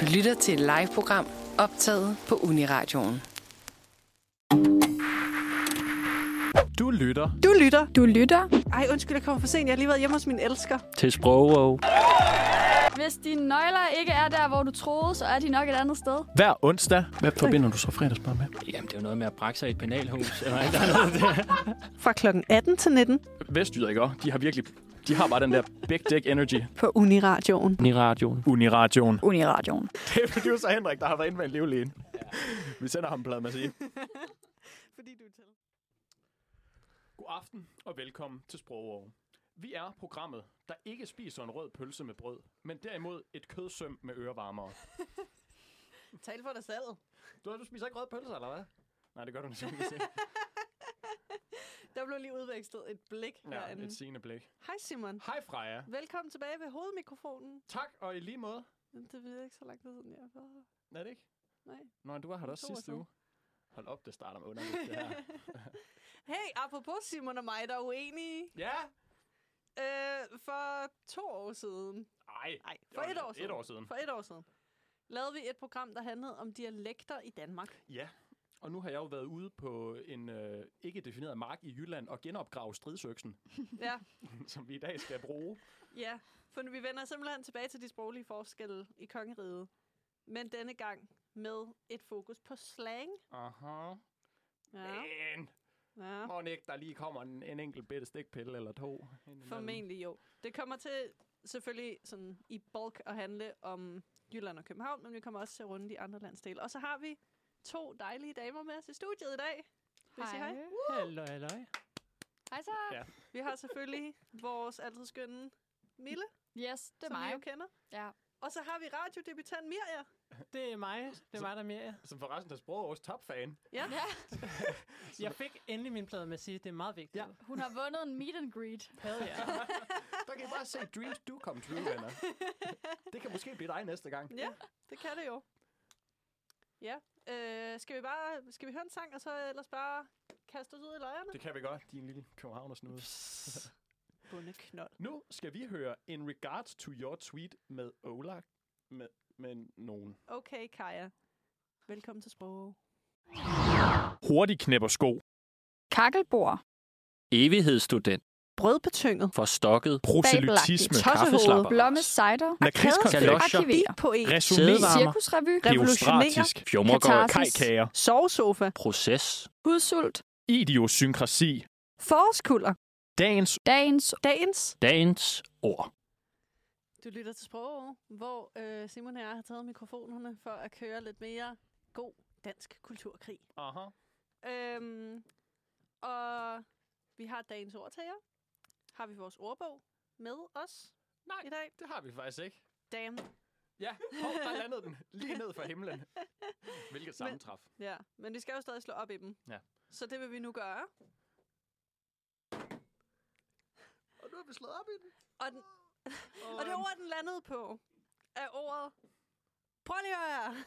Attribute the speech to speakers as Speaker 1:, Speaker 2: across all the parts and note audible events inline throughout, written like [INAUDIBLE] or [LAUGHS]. Speaker 1: Du lytter til et live-program optaget på Uniradioen.
Speaker 2: Du lytter
Speaker 3: Du lytter.
Speaker 4: Du lytter.
Speaker 3: Ej, undskyld, jeg kommer for sent. Jeg har lige været hjemme hos min elsker.
Speaker 5: til sprog.
Speaker 4: Hvis dine nøgler ikke er der, hvor du troede, så er de nok et andet sted.
Speaker 2: hver onsdag.
Speaker 6: Hvad forbinder du så fredagsbar med?
Speaker 5: Jamen, det er jo noget med at brække sig i et penalhus. Eller et eller andet.
Speaker 3: Fra kl. 18 til 19
Speaker 6: Vestjyder, ikke også? De har virkelig... De har bare den der big dick energy.
Speaker 3: på Uniradioen.
Speaker 5: I radioen.
Speaker 2: Uniradioen.
Speaker 4: Uniradioen.
Speaker 6: [LAUGHS] Det er producer Henrik, der har været inde med en livlægen. Vi sender ham en plade E. med at sige.
Speaker 3: [LAUGHS] Fordi du er til.
Speaker 6: God aften og velkommen til Sprogeår. Vi er programmet, der ikke spiser en rød pølse med brød, men derimod et kødsøm med ørevarmere.
Speaker 3: Tal for dig
Speaker 6: [LAUGHS]
Speaker 3: selv.
Speaker 6: Du, du spiser ikke rød pølse, eller hvad? Nej, det gør du ikke. som jeg kan se.
Speaker 3: Der blev lige udvekslet et blik
Speaker 6: [LAUGHS] Ja, et sigende blik.
Speaker 3: Hej Simon.
Speaker 6: Hej Freja.
Speaker 3: Velkommen tilbage ved hovedmikrofonen.
Speaker 6: Tak, og i lige måde.
Speaker 3: Det ved jeg ikke så lang tid siden, jeg var.
Speaker 6: Er det ikke?
Speaker 3: Nej.
Speaker 6: Nå, du var her da også
Speaker 3: To år
Speaker 6: sidste
Speaker 3: siden.
Speaker 6: uge. Hold op, det starter med underligt, det [LAUGHS] her.
Speaker 3: [LAUGHS] hey, apropos Simon og mig, der er uenige.
Speaker 6: Ja!
Speaker 3: Øh, for to år siden.
Speaker 6: Ej,
Speaker 3: Nej,
Speaker 6: det
Speaker 3: for
Speaker 6: var
Speaker 3: et år siden.
Speaker 6: Et år siden.
Speaker 3: For et år siden. Lavede vi et program, der handlede om dialekter i Danmark.
Speaker 6: Ja, og nu har jeg jo været ude på en øh, ikke defineret mark i Jylland og genopgrave stridsøksen,
Speaker 3: Ja,
Speaker 6: [LAUGHS] som vi i dag skal bruge.
Speaker 3: ja. For nu- vi vender simpelthen tilbage til de sproglige forskelle i kongeriget. Men denne gang med et fokus på slang.
Speaker 6: Aha.
Speaker 3: Ja,
Speaker 6: Men,
Speaker 3: ja.
Speaker 6: må ikke der lige kommer en, en enkelt bitte stikpille eller to. indimellem.
Speaker 3: Formentlig jo. Det kommer til selvfølgelig sådan i bulk at handle om Jylland og København, men vi kommer også til at runde de andre landsdele. Og så har vi to dejlige damer med os i studiet i dag. Vil I sige hej?
Speaker 5: Halløj, halløj.
Speaker 4: Hej så.
Speaker 6: Ja.
Speaker 3: Vi har
Speaker 4: [LAUGHS]
Speaker 3: selvfølgelig vores altid skønne Mille,
Speaker 4: Yes, det er
Speaker 3: som vi
Speaker 4: mig.
Speaker 3: jo kender.
Speaker 4: Ja.
Speaker 3: Og så har vi radiodebutant Mirja.
Speaker 7: Det er mig. Det er mig, der er mere.
Speaker 6: Som forresten er sprogårs topfan.
Speaker 3: Ja.
Speaker 4: ja.
Speaker 7: Jeg fik endelig min plade med at sige, det er meget vigtigt.
Speaker 6: Ja.
Speaker 4: Hun har vundet en meet and greet.
Speaker 7: Havde jeg.
Speaker 6: [LAUGHS] Der kan I bare se dreams do come true, venner. Det kan måske blive dig næste gang.
Speaker 3: Ja, det kan det jo. Ja, øh, skal vi bare skal vi høre en sang, og så ellers bare kaste os ud i løjerne?
Speaker 6: Det kan vi godt, din lille københavnersnude.
Speaker 3: Bundeknold.
Speaker 6: Nu skal vi høre In Regards to Your Tweet med Ola. Med, med nogen.
Speaker 3: Okay, Kaja. Velkommen til Sprog.
Speaker 6: Hurtig knæpper sko.
Speaker 4: Kakkelbord.
Speaker 5: [LAUGHS] Evighedsstudent.
Speaker 3: Brødbetynget.
Speaker 5: Forstokket.
Speaker 4: Proselytisme.
Speaker 3: Tossehoved.
Speaker 4: Blomme cider.
Speaker 6: Lakridskonfekt.
Speaker 4: Arkiver.
Speaker 3: Poet.
Speaker 5: Resonere.
Speaker 4: Cirkusrevy.
Speaker 3: Revolutionerer.
Speaker 5: Fjummergård.
Speaker 4: Katarsis.
Speaker 6: Kajkager.
Speaker 3: Sovesofa.
Speaker 5: Proces.
Speaker 4: Hudsult.
Speaker 6: Idiosynkrasi.
Speaker 3: Forårskulder.
Speaker 6: Dagens
Speaker 4: Dagens. [LAUGHS]
Speaker 3: Dagens.
Speaker 5: Dagens ord.
Speaker 3: Du lytter til Sprog, hvor øh, Simon og jeg har taget mikrofonerne for at køre lidt mere god dansk kulturkrig.
Speaker 6: Aha.
Speaker 3: Øhm, og vi har dagens ord til jer. Har vi vores ordbog med os
Speaker 6: Nej.
Speaker 3: i dag?
Speaker 6: Det har vi faktisk ikke.
Speaker 3: Damn.
Speaker 6: Ja, hov, der landede den lige ned fra himlen. Hvilket sammentræf.
Speaker 3: Ja, men vi skal jo stadig slå op i dem.
Speaker 6: Ja.
Speaker 3: Så det vil vi nu gøre.
Speaker 6: Og nu har vi slået op i den.
Speaker 3: Og, den, og
Speaker 6: øhm,
Speaker 3: det ord, den landede på, er ordet... Prøv lige at høre her.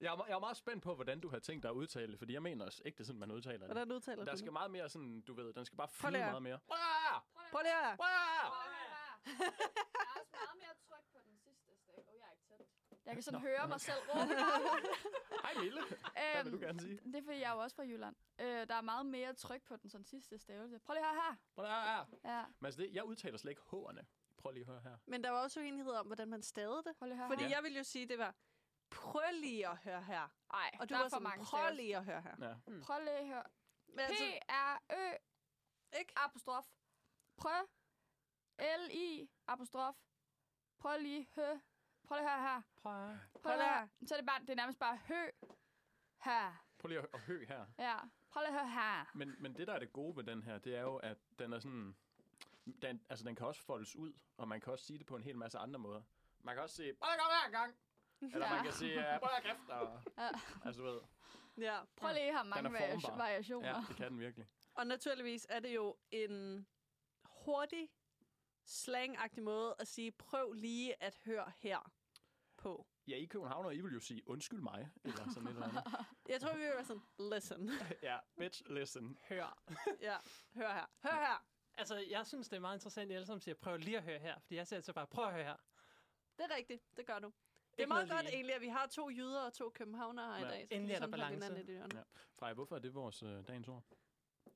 Speaker 6: Jeg er, me- jeg er meget spændt på, hvordan du har tænkt dig at udtale det, fordi jeg mener også ikke, det er sådan, man udtaler det.
Speaker 3: Hvordan udtaler
Speaker 6: Der
Speaker 3: du
Speaker 6: skal
Speaker 3: det?
Speaker 6: meget mere sådan, du ved, den skal bare
Speaker 3: Prøv
Speaker 6: flyde
Speaker 3: lige at-
Speaker 6: meget mere. Uah!
Speaker 3: Prøv lige at høre.
Speaker 6: Uah!
Speaker 4: Oh, Jeg kan sådan Nå. høre mig selv råbe navnet.
Speaker 6: Hej Mille. [LAUGHS] Hvad
Speaker 3: Øhm.
Speaker 6: vil du gerne sige?
Speaker 4: det er fordi, jeg er jo også fra Jylland. Øh, der er meget mere tryk på den sådan sidste stavelse. Prøv lige at høre her.
Speaker 6: Uah!
Speaker 4: Ja,
Speaker 6: Men altså det, jeg udtaler slet ikke H'erne. Prøv lige at høre her.
Speaker 3: Men der var også uenighed om, hvordan man stavede det.
Speaker 4: prøv lige at høre
Speaker 3: Fordi
Speaker 4: her.
Speaker 3: jeg ville jo sige, det var... Prøv lige at høre her.
Speaker 4: Nej,
Speaker 3: Og du
Speaker 4: der
Speaker 3: var
Speaker 4: er for
Speaker 3: sådan,
Speaker 4: mange
Speaker 3: prøv
Speaker 4: stavelser.
Speaker 3: lige at høre her.
Speaker 6: Ja.
Speaker 4: Prøv lige at høre.
Speaker 3: Men altså,
Speaker 4: P-R-Ø
Speaker 3: ikke?
Speaker 4: apostrof. Prøv. L-I apostrof. Prøv lige hø. Prøv lige her her.
Speaker 7: Prøv.
Speaker 4: Prøv lige her. Så er det, bare, det er nærmest bare hø. Her.
Speaker 6: Prøv lige at, at hø her.
Speaker 4: Ja. Prøv lige at høre her.
Speaker 6: Men, men det, der er det gode ved den her, det er jo, at den er sådan... Den, altså, den kan også foldes ud, og man kan også sige det på en hel masse andre måder. Man kan også sige, bare kom hver gang!
Speaker 4: [LAUGHS]
Speaker 6: Eller
Speaker 4: Ja.
Speaker 6: man kan sige, "Ja, prøv at kræfter!
Speaker 4: Ja.
Speaker 6: Altså, du ved,
Speaker 3: Ja.
Speaker 4: Prøv lige at høre mange
Speaker 6: er formbar.
Speaker 4: vari- variationer.
Speaker 6: ja, det kan den virkelig.
Speaker 3: Og naturligvis er det jo en hurtig, slangagtig måde at sige, prøv lige at høre her på.
Speaker 6: Ja, I københavner, I vil jo sige, undskyld mig, eller sådan et eller andet.
Speaker 3: Jeg tror, vi vil være sådan, listen.
Speaker 6: [LAUGHS] Ja, bitch, listen.
Speaker 7: Hør.
Speaker 3: ja, hør her. Hør her.
Speaker 7: Altså, jeg synes, det er meget interessant, at I alle sammen siger, prøv lige at høre her. Fordi jeg siger altså bare, prøv at høre her.
Speaker 3: Det er rigtigt. Det gør du. Det er meget
Speaker 7: noget
Speaker 3: godt
Speaker 7: lige.
Speaker 3: egentlig, at vi har to jyder og to københavnere ja. i
Speaker 6: Ja.
Speaker 3: dag. så
Speaker 7: Endelig
Speaker 3: vi
Speaker 7: er der
Speaker 3: sådan holder
Speaker 7: balance.
Speaker 3: hinanden lidt i ørerne.
Speaker 6: Frej, hvorfor er det vores øh, dagens ord?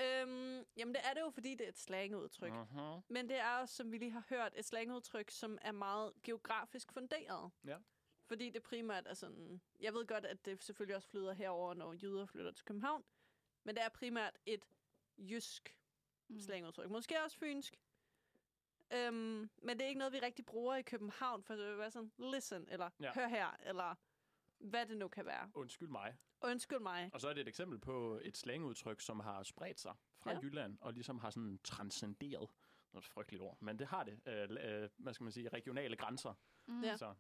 Speaker 3: Øhm, jamen, det er det jo, fordi det er et slangudtryk. Ja.
Speaker 6: Uh-huh.
Speaker 3: Men det er også, som vi lige har hørt, et slangudtryk, som er meget geografisk funderet.
Speaker 6: Ja.
Speaker 3: Fordi det primært er sådan... Jeg ved godt, at det selvfølgelig også flyder herover, når jyder flytter til København. Men det er primært et jysk mm. slangudtryk. Måske også fynsk. Øhm, men det er ikke noget, vi rigtig bruger i København, for det vil være sådan, listen, eller ja.
Speaker 6: Ja.
Speaker 3: hør her, eller hvad det nu kan være.
Speaker 6: Undskyld mig.
Speaker 3: Undskyld mig.
Speaker 6: Og så er det et eksempel på et slangudtryk, som har spredt sig fra
Speaker 3: Ja.
Speaker 6: ja. Jylland og ligesom har sådan transcenderet. Det er et frygteligt ord, men det har det. Øh, la- øh, hvad skal man sige? Regionale grænser.
Speaker 4: Mm.
Speaker 3: Ja.
Speaker 6: Ja. Så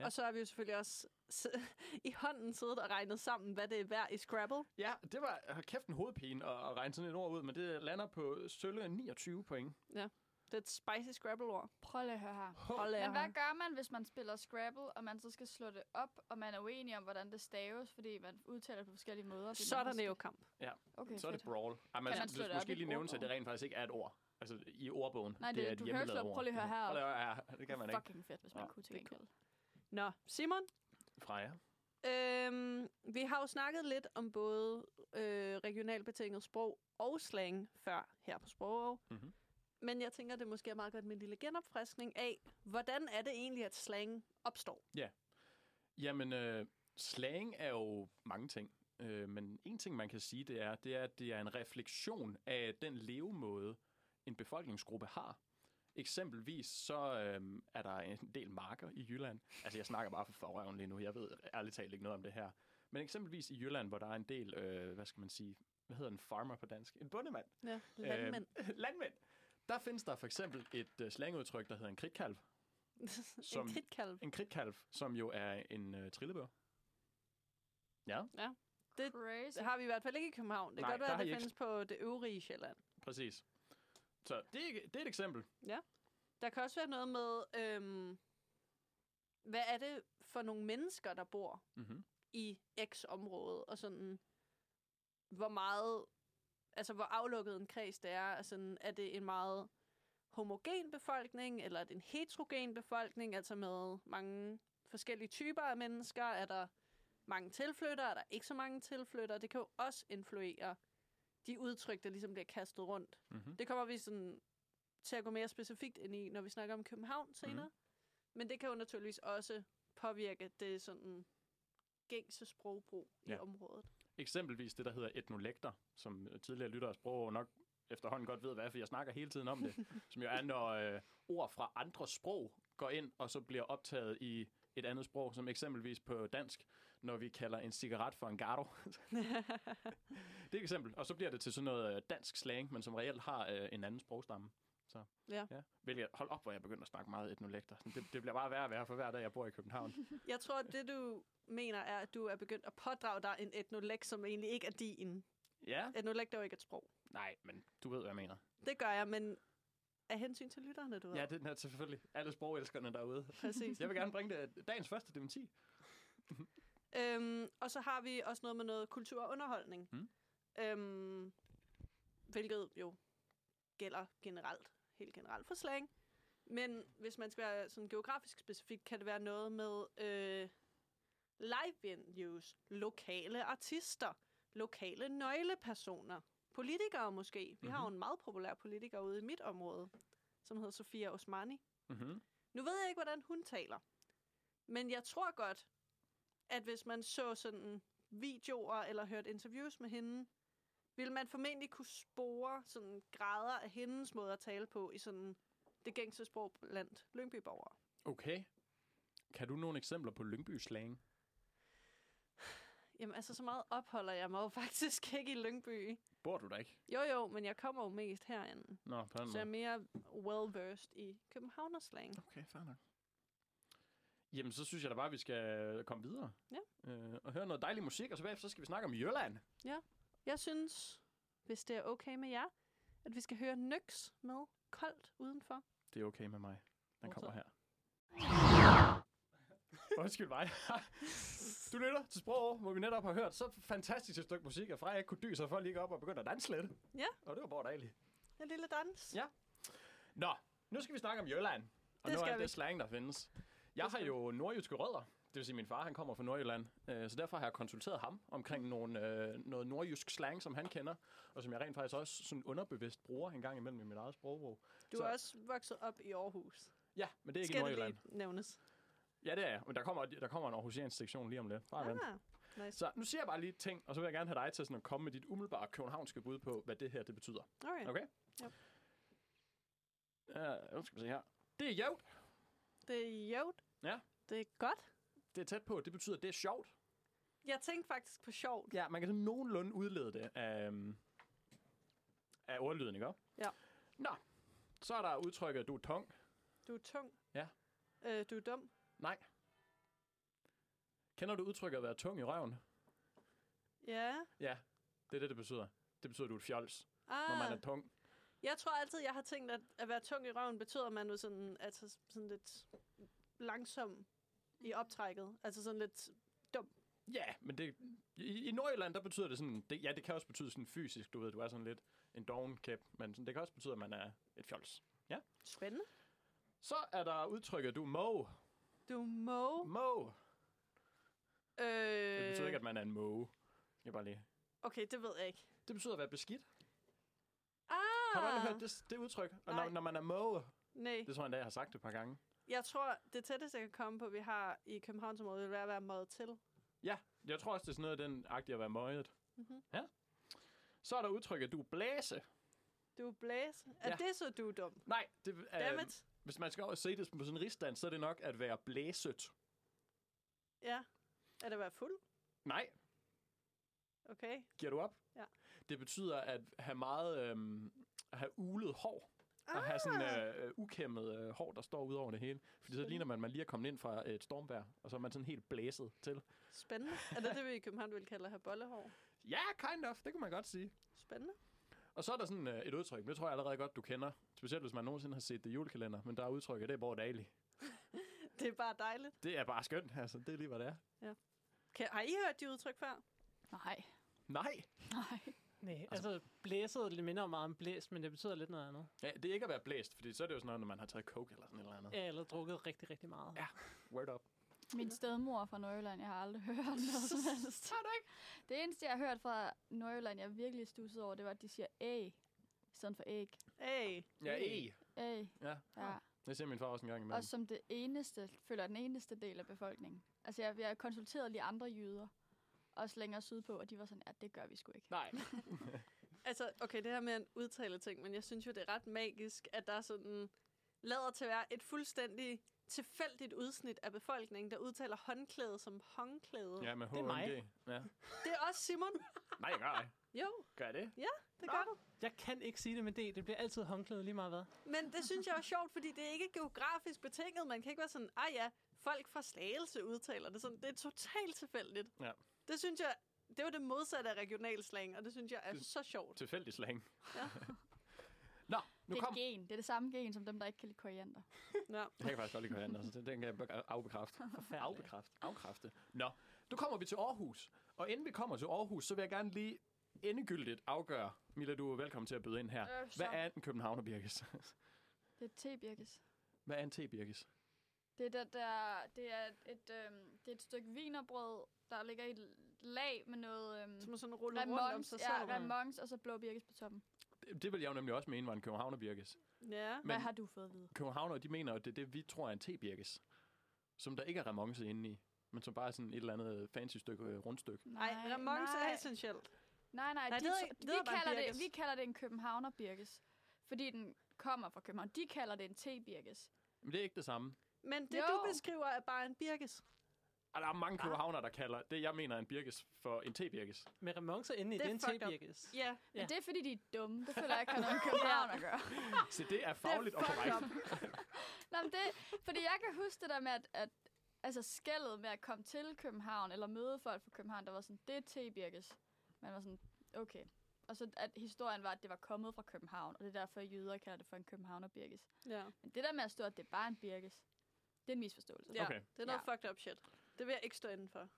Speaker 3: Ja. Og så har vi jo selvfølgelig også s- [LAUGHS] i hånden siddet og regnet sammen, hvad det er værd i Scrabble.
Speaker 6: ja, det var hold kæft en hovedpine at, at regne sådan et ord ud, men det lander på sølle 29 point.
Speaker 3: Det er et spicy Scrabble-ord.
Speaker 4: Prøv lige at høre her.
Speaker 3: Hold af
Speaker 4: Men hvad
Speaker 3: ham.
Speaker 4: gør man, hvis man spiller Scrabble, og man så skal slå det op, og man er uenig om, hvordan det staves, fordi man udtaler det på forskellige måder? fordi
Speaker 3: Så er
Speaker 4: man
Speaker 3: der
Speaker 4: måske-
Speaker 3: jo kamp.
Speaker 4: Okay,
Speaker 6: Så er det
Speaker 4: fedt.
Speaker 6: brawl. Ej, man,
Speaker 4: Kan man
Speaker 6: man
Speaker 4: slå det
Speaker 6: det
Speaker 4: op i
Speaker 6: måske lige
Speaker 4: et
Speaker 6: nævne, at det
Speaker 4: ordbog?
Speaker 6: rent faktisk ikke er et ord. Altså i ordbogen.
Speaker 4: Nej, det-
Speaker 6: er et
Speaker 4: du kan jo
Speaker 6: hjemmelavet
Speaker 4: slå-
Speaker 6: ord.
Speaker 4: prøv lige at høre
Speaker 6: Ja.
Speaker 4: heroppe.
Speaker 6: Hold da- Ja, det kan man ikke.
Speaker 4: Fucking fedt, hvis man
Speaker 6: Ja,
Speaker 4: kunne til
Speaker 3: det er
Speaker 4: gengæld.
Speaker 3: Nå, Simon,
Speaker 6: Freja.
Speaker 3: øhm, vi har jo snakket lidt om både øh, regionalt betinget sprog og slang før her på Sprog. Mm-hmm.
Speaker 6: Mhm.
Speaker 3: Men jeg tænker, det måske er meget godt med en lille genopfriskning af, hvordan er det egentlig, at slang opstår?
Speaker 6: Jamen, øh, slang er jo mange ting. Øh, men en ting, man kan sige, det er, det er, at det er en refleksion af den levemåde, en befolkningsgruppe har. Eksempelvis så øh, er der en del marker i Jylland. Altså, jeg snakker bare for forrøven lige nu. Jeg ved ærligt talt ikke noget om det her. Men eksempelvis i Jylland, hvor der er en del, øh, hvad skal man sige, hvad hedder en farmer på dansk? En bondemand.
Speaker 3: Ja, landmænd.
Speaker 6: Øh, landmænd. Der findes der for eksempel et øh, slangudtryk, der hedder en kridtkalv.
Speaker 3: en
Speaker 6: Øhm,
Speaker 3: [LAUGHS]
Speaker 6: som-
Speaker 3: kritkalv.
Speaker 6: En kridtkalv, som jo er en øh, trillebør. Ja,
Speaker 3: Det-
Speaker 4: Crazy.
Speaker 3: Det har vi i hvert fald ikke i København. Det kan
Speaker 6: Nej,
Speaker 3: godt være,
Speaker 6: der
Speaker 3: at
Speaker 6: har I
Speaker 3: det
Speaker 6: ikke-
Speaker 3: findes på det øvrige Sjælland.
Speaker 6: præcis. Så det er, det er et eksempel.
Speaker 3: Der kan også være noget med, øhm, hvad er det for nogle mennesker, der bor
Speaker 6: Mm-hmm.
Speaker 3: i x område, og sådan, hvor meget, altså hvor aflukket en kreds det er, og sådan, er det en meget homogen befolkning, eller er det en heterogen befolkning, altså med mange forskellige typer af mennesker, er der mange tilflyttere, er der ikke så mange tilflyttere, det kan jo også influere de udtryk, der ligesom bliver kastet rundt.
Speaker 6: Mm-hmm.
Speaker 3: Det kommer vi sådan til at gå mere specifikt ind i, når vi snakker om København senere. Mm. Men det kan jo naturligvis også påvirke det sådan gængse sprogbrug ja. i
Speaker 6: Ja.
Speaker 3: området. [LAUGHS]
Speaker 6: Eksempelvis det, der hedder etnolekter, som tidligere lyttere af sprog nok efterhånden godt ved, hvad er, for jeg snakker hele tiden om [LAUGHS] det, som jo er, når øh, ord fra andre sprog går ind, og så bliver optaget i et andet sprog, som eksempelvis på dansk, når vi kalder en cigaret for en garo. det er et eksempel. Og så bliver det til sådan noget øh, dansk slang, men som reelt har øh, en anden sprogstamme. Så,
Speaker 3: Ja.
Speaker 6: ja. Hvilket, hold op, hvor jeg begynder at snakke meget etnolekter. Sådan, Det, det bliver bare værre og værre for hver dag, jeg bor i København.
Speaker 3: Jeg tror, det du mener er, at du er begyndt at pådrage dig en etnolek, som egentlig ikke er din.
Speaker 6: [LAUGHS] ja,
Speaker 3: Etnolek er jo ikke et sprog.
Speaker 6: nej, men du ved, hvad jeg mener.
Speaker 3: Det gør jeg, men af hensyn til lytterne, du ved.
Speaker 6: Ja, det er den her selvfølgelig. Alle sprogelskerne derude.
Speaker 3: præcis.
Speaker 6: Jeg vil gerne bringe det øh, dagens første dementi.
Speaker 3: Øhm, og så har vi også noget med noget kultur og underholdning. Mm.
Speaker 6: Mm.
Speaker 3: Øhm, hvilket jo gælder generelt, helt generelt for slang. Men hvis man skal være sådan geografisk specifik, kan det være noget med øh, live venues, lokale artister, lokale nøglepersoner, politikere måske. Vi mm-hmm. har jo en meget populær politiker ude i mit område, som hedder Sofia Osmani.
Speaker 6: Mm-hmm.
Speaker 3: Nu ved jeg ikke, hvordan hun taler. Men jeg tror godt, at hvis man så sådan videoer eller hørte interviews med hende, ville man formentlig kunne spore sådan grader af hendes måde at tale på i sådan det gængse sprog blandt Lyngbyborgere.
Speaker 6: Okay. Kan du nogle eksempler på Lyngby slang?
Speaker 3: Jamen altså, så meget opholder jeg mig jo faktisk [LAUGHS] ikke i Lyngby.
Speaker 6: Bor du der ikke?
Speaker 3: Jo jo, men jeg kommer jo mest herinde.
Speaker 6: Nå, på den
Speaker 3: Så jeg er
Speaker 6: måde.
Speaker 3: mere well-versed i københavnerslang.
Speaker 6: Okay, fair nok. Jamen, så synes jeg da bare, at vi skal øh, komme videre.
Speaker 3: Ja.
Speaker 6: Øh, og høre noget dejlig musik, og så bagefter så skal vi snakke om Jylland.
Speaker 3: Jeg synes, hvis det er okay med jer, at vi skal høre Nyx med koldt udenfor.
Speaker 6: Det er okay med mig. Den
Speaker 7: kommer
Speaker 6: kommer her. Undskyld mig. du lytter til sprog, hvor vi netop har hørt så fantastisk et stykke musik, at Freja ikke kunne dy sig for lige op og begynde at danse lidt.
Speaker 3: Ja.
Speaker 6: Og det var bare dejligt.
Speaker 3: En lille dans.
Speaker 6: Ja. Nå, nu skal vi snakke om Jylland. Og
Speaker 3: Det
Speaker 6: nu
Speaker 3: skal
Speaker 6: er
Speaker 3: vi.
Speaker 6: det slang, der findes. Jeg har jo nordjyske rødder. Det vil sige, at min far han kommer fra Nordjylland. Øh, så derfor har jeg konsulteret ham omkring nogle, øh, noget nordjysk slang, som han kender. Og som jeg rent faktisk også sådan underbevidst bruger en gang imellem i mit eget sprogbrug.
Speaker 3: Du
Speaker 6: Så-
Speaker 3: er også vokset op i Aarhus.
Speaker 6: Ja, men det er ikke i
Speaker 3: Skal det
Speaker 6: Nordjylland.
Speaker 3: lige nævnes?
Speaker 6: Ja, det er jeg. Men der kommer, der kommer en Aarhusiansk sektion lige om lidt. Bare vent.
Speaker 3: Ah, nice.
Speaker 6: Så nu siger jeg bare lige ting, og så vil jeg gerne have dig til sådan at komme med dit umiddelbare københavnske bud på, hvad det her det betyder.
Speaker 3: Okay.
Speaker 6: Okay?
Speaker 3: Yep.
Speaker 6: Ja, Øh, nu skal vi se her. Det er jævnt.
Speaker 3: Det er jævnt.
Speaker 6: Ja.
Speaker 3: Det er godt.
Speaker 6: Det er tæt på. Det betyder, at det er sjovt.
Speaker 3: Jeg tænkte faktisk på sjovt.
Speaker 6: Ja, man kan sådan nogenlunde udlede det af, øhm, af ordlyden, ikke? også?
Speaker 3: Ja.
Speaker 6: Nå, så er der udtrykket, du er tong.
Speaker 3: Du er tung.
Speaker 6: Ja.
Speaker 3: Øh, du er dum.
Speaker 6: Nej. Kender du udtrykket at være tung i røven?
Speaker 3: Ja.
Speaker 6: Ja, det er det, det betyder. Det betyder, at du er et fjols, ah. når
Speaker 3: Ah,
Speaker 6: man er tung.
Speaker 3: jeg tror altid, jeg har tænkt, at at være tung i røven betyder, at man er sådan, altså sådan lidt langsom i optrækket. Altså sådan lidt...
Speaker 6: Ja, men det, i, i Nordjylland, der betyder det sådan, det, ja, det kan også betyde sådan fysisk, du ved, du er sådan lidt en doven kæp, men sådan, det kan også betyde, at man er et fjols.
Speaker 3: Spændende.
Speaker 6: Så er der udtrykket, du er mo.
Speaker 3: Du er må.
Speaker 6: Mo.
Speaker 3: Øh,
Speaker 6: Det betyder ikke, at man er en måge. Jeg bare lige.
Speaker 3: Okay, det ved jeg ikke.
Speaker 6: Det betyder at være beskidt.
Speaker 3: Ah!
Speaker 6: Har du aldrig hørt det, det udtryk? Og
Speaker 3: Nej.
Speaker 6: når, når man er måge,
Speaker 3: Nej.
Speaker 6: det tror jeg endda, jeg har sagt det et par gange.
Speaker 3: Jeg tror, det tætteste, jeg kan komme på, vi har i Københavnsområdet, vil være at være møget til.
Speaker 6: Ja, jeg tror også, det er sådan noget af den agtige at være møget.
Speaker 3: Mhm.
Speaker 6: Ja. Så er der udtrykket, du er blæse.
Speaker 3: Du er blæs. Er
Speaker 6: Ja.
Speaker 3: ja. det så, du er dum?
Speaker 6: Nej, det, øh,
Speaker 3: Dammit.
Speaker 6: hvis man skal over og se det på sådan en rigsdans, så er det nok at være blæset.
Speaker 3: Ja. Er det at være fuld?
Speaker 6: Nej,
Speaker 3: Okay.
Speaker 6: giver du op?
Speaker 3: Ja.
Speaker 6: Det betyder at have meget, øhm, at have ulet hår. Ah. At have sådan øh, øh, ukæmmet øh, hår, der står ud over det hele. Fordi så ligner man, at man lige er kommet ind fra et stormvær, og så er man sådan helt blæset til.
Speaker 3: Spændende. Er det det, vi i København vil kalde at have bollehår?
Speaker 6: Ja, kind of, det kunne man godt sige.
Speaker 3: Spændende. [LAUGHS]
Speaker 6: Og så er der sådan øh, et udtryk, men det tror jeg allerede godt, du kender. Specielt hvis man nogensinde har set det i julekalender, men der er udtrykket, det er bare dagligt.
Speaker 3: Det er bare dejligt.
Speaker 6: Det er bare skønt, altså. Det er lige, hvad det er.
Speaker 3: Kan, har I hørt de udtryk før?
Speaker 4: Nej, [LAUGHS]
Speaker 6: Nej,
Speaker 4: nej.
Speaker 7: Nej, altså blæset lidt minder meget om blæst, men det betyder lidt noget andet.
Speaker 6: ja, det er ikke at være blæst, fordi så er det jo sådan noget, når man har taget coke eller sådan et eller andet.
Speaker 7: Ja, eller drukket rigtig, rigtig meget.
Speaker 6: Ja. Word up.
Speaker 4: Min stedmor er fra Nordjylland, jeg har aldrig hørt noget [LAUGHS] som helst. Har du ikke? Det eneste, jeg har hørt fra Nordjylland, jeg virkelig stussede over, det var, at de siger æg, i stedet for æg.
Speaker 3: Hey.
Speaker 6: Ja, e.
Speaker 4: Æg,
Speaker 6: Ja,
Speaker 4: ja.
Speaker 6: det siger min far også en gang imellem.
Speaker 4: Og som det eneste, føler jeg, den eneste del af befolkningen. Altså, jeg, jeg konsulterede lige andre jyder, også længere sydpå, og de var sådan, at det gør vi sgu ikke.
Speaker 6: Nej.
Speaker 3: Altså, okay, det her med en udtale ting, men jeg synes jo, det er ret magisk, at der er sådan lader til at være et fuldstændig tilfældigt udsnit af befolkningen, der udtaler håndklæde som håndklæde.
Speaker 6: Ja, med
Speaker 7: Det er mig.
Speaker 6: HMG. Ja.
Speaker 3: Det er også Simon.
Speaker 6: Nej, jeg gør ej.
Speaker 3: Jo,
Speaker 6: Gør jeg det?
Speaker 3: det gør
Speaker 6: Nå.
Speaker 3: du.
Speaker 7: Jeg kan ikke sige det med det. Det bliver altid håndklæde lige meget hvad.
Speaker 3: Men det synes jeg er sjovt, fordi det er ikke geografisk betinget. Man kan ikke være sådan, ah ja, folk fra Slagelse udtaler det sådan. Det er totalt tilfældigt.
Speaker 6: Ja.
Speaker 3: Det synes jeg, det var det modsatte af regional slang, og det synes jeg er
Speaker 6: Det-
Speaker 3: så sjovt.
Speaker 6: Tilfældig slang.
Speaker 3: Ja.
Speaker 6: Nå, nu
Speaker 4: det er
Speaker 6: kom.
Speaker 4: et gen. Det er det samme gen, som dem, der ikke kan lide koriander.
Speaker 3: Ja.
Speaker 6: Jeg kan faktisk godt lide koriander, så den- den kan jeg be- afbekræfte. Afbekræfte. Afkræfte. Nå, nu kommer vi til Aarhus. Og inden vi kommer til Aarhus, så vil jeg gerne lige endegyldigt afgøre. Mila, du er velkommen til at byde ind her.
Speaker 4: Øh, så.
Speaker 6: Hvad er en københavnerbirkes? [LAUGHS]
Speaker 4: Det er tebirkes.
Speaker 6: Hvad er en tebirkes?
Speaker 4: Det er, det, der, det er, et, øhm, det er et stykke vinerbrød, der ligger i et lag med noget... Øhm,
Speaker 3: Som sådan ruller rundt om
Speaker 4: Remons,
Speaker 3: sig
Speaker 4: ja,
Speaker 3: selv.
Speaker 4: remons, og så blå birkes på toppen.
Speaker 6: Det, det vil jeg jo nemlig også mene var en københavnerbirkes.
Speaker 3: Ja.
Speaker 4: Hvad
Speaker 6: Men-
Speaker 4: har du fået at vide?
Speaker 6: Københavner, de mener, at det er det, vi tror er en tebirkes. Som der ikke er remonce inde i, men som bare er sådan et eller andet fancy stykke øh, rundstykke.
Speaker 3: Nej, remons er
Speaker 4: nej,
Speaker 3: essentielt.
Speaker 4: nej, nej,
Speaker 3: Nej,
Speaker 4: de,
Speaker 3: det er
Speaker 4: tro-
Speaker 3: ikke- det
Speaker 4: vi,
Speaker 3: er bare en
Speaker 4: kalder
Speaker 3: birkes.
Speaker 4: det, vi kalder det en københavner birkes, fordi den kommer fra København. De kalder det en tebirkes.
Speaker 6: Men det er ikke det samme.
Speaker 3: Men det,
Speaker 4: Jo.
Speaker 3: du beskriver, er bare en birkes.
Speaker 6: Og der er mange københavner, der kalder det, jeg mener, er en birkes for en tebirkes.
Speaker 7: Med remoncer inde i,
Speaker 3: Det
Speaker 7: det
Speaker 3: er
Speaker 7: er en
Speaker 3: fucked up.
Speaker 7: tebirkes.
Speaker 3: Ja.
Speaker 4: Men
Speaker 7: Ja.
Speaker 4: det er, fordi de er dumme. Det føler jeg ikke har noget med
Speaker 3: [LAUGHS]
Speaker 4: København at gøre.
Speaker 6: Så Ah, det er fagligt og
Speaker 3: fucked
Speaker 6: korrekt.
Speaker 4: Nå, men det, fordi jeg kan huske det der med, at, at altså skældet med at komme til København, eller møde folk fra København, der var sådan, det er tebirkes. Man var sådan, okay. Og så at historien var, at det var kommet fra København, og det er derfor, jøder kalder det for en københavnerbirkes.
Speaker 3: Ja.
Speaker 4: Men det der med at stå, at det er bare en birkes, det er en misforståelse.
Speaker 3: ja.
Speaker 6: Okay.
Speaker 3: Det er noget
Speaker 4: Ja.
Speaker 3: fucked up shit. Det vil jeg ikke stå indenfor.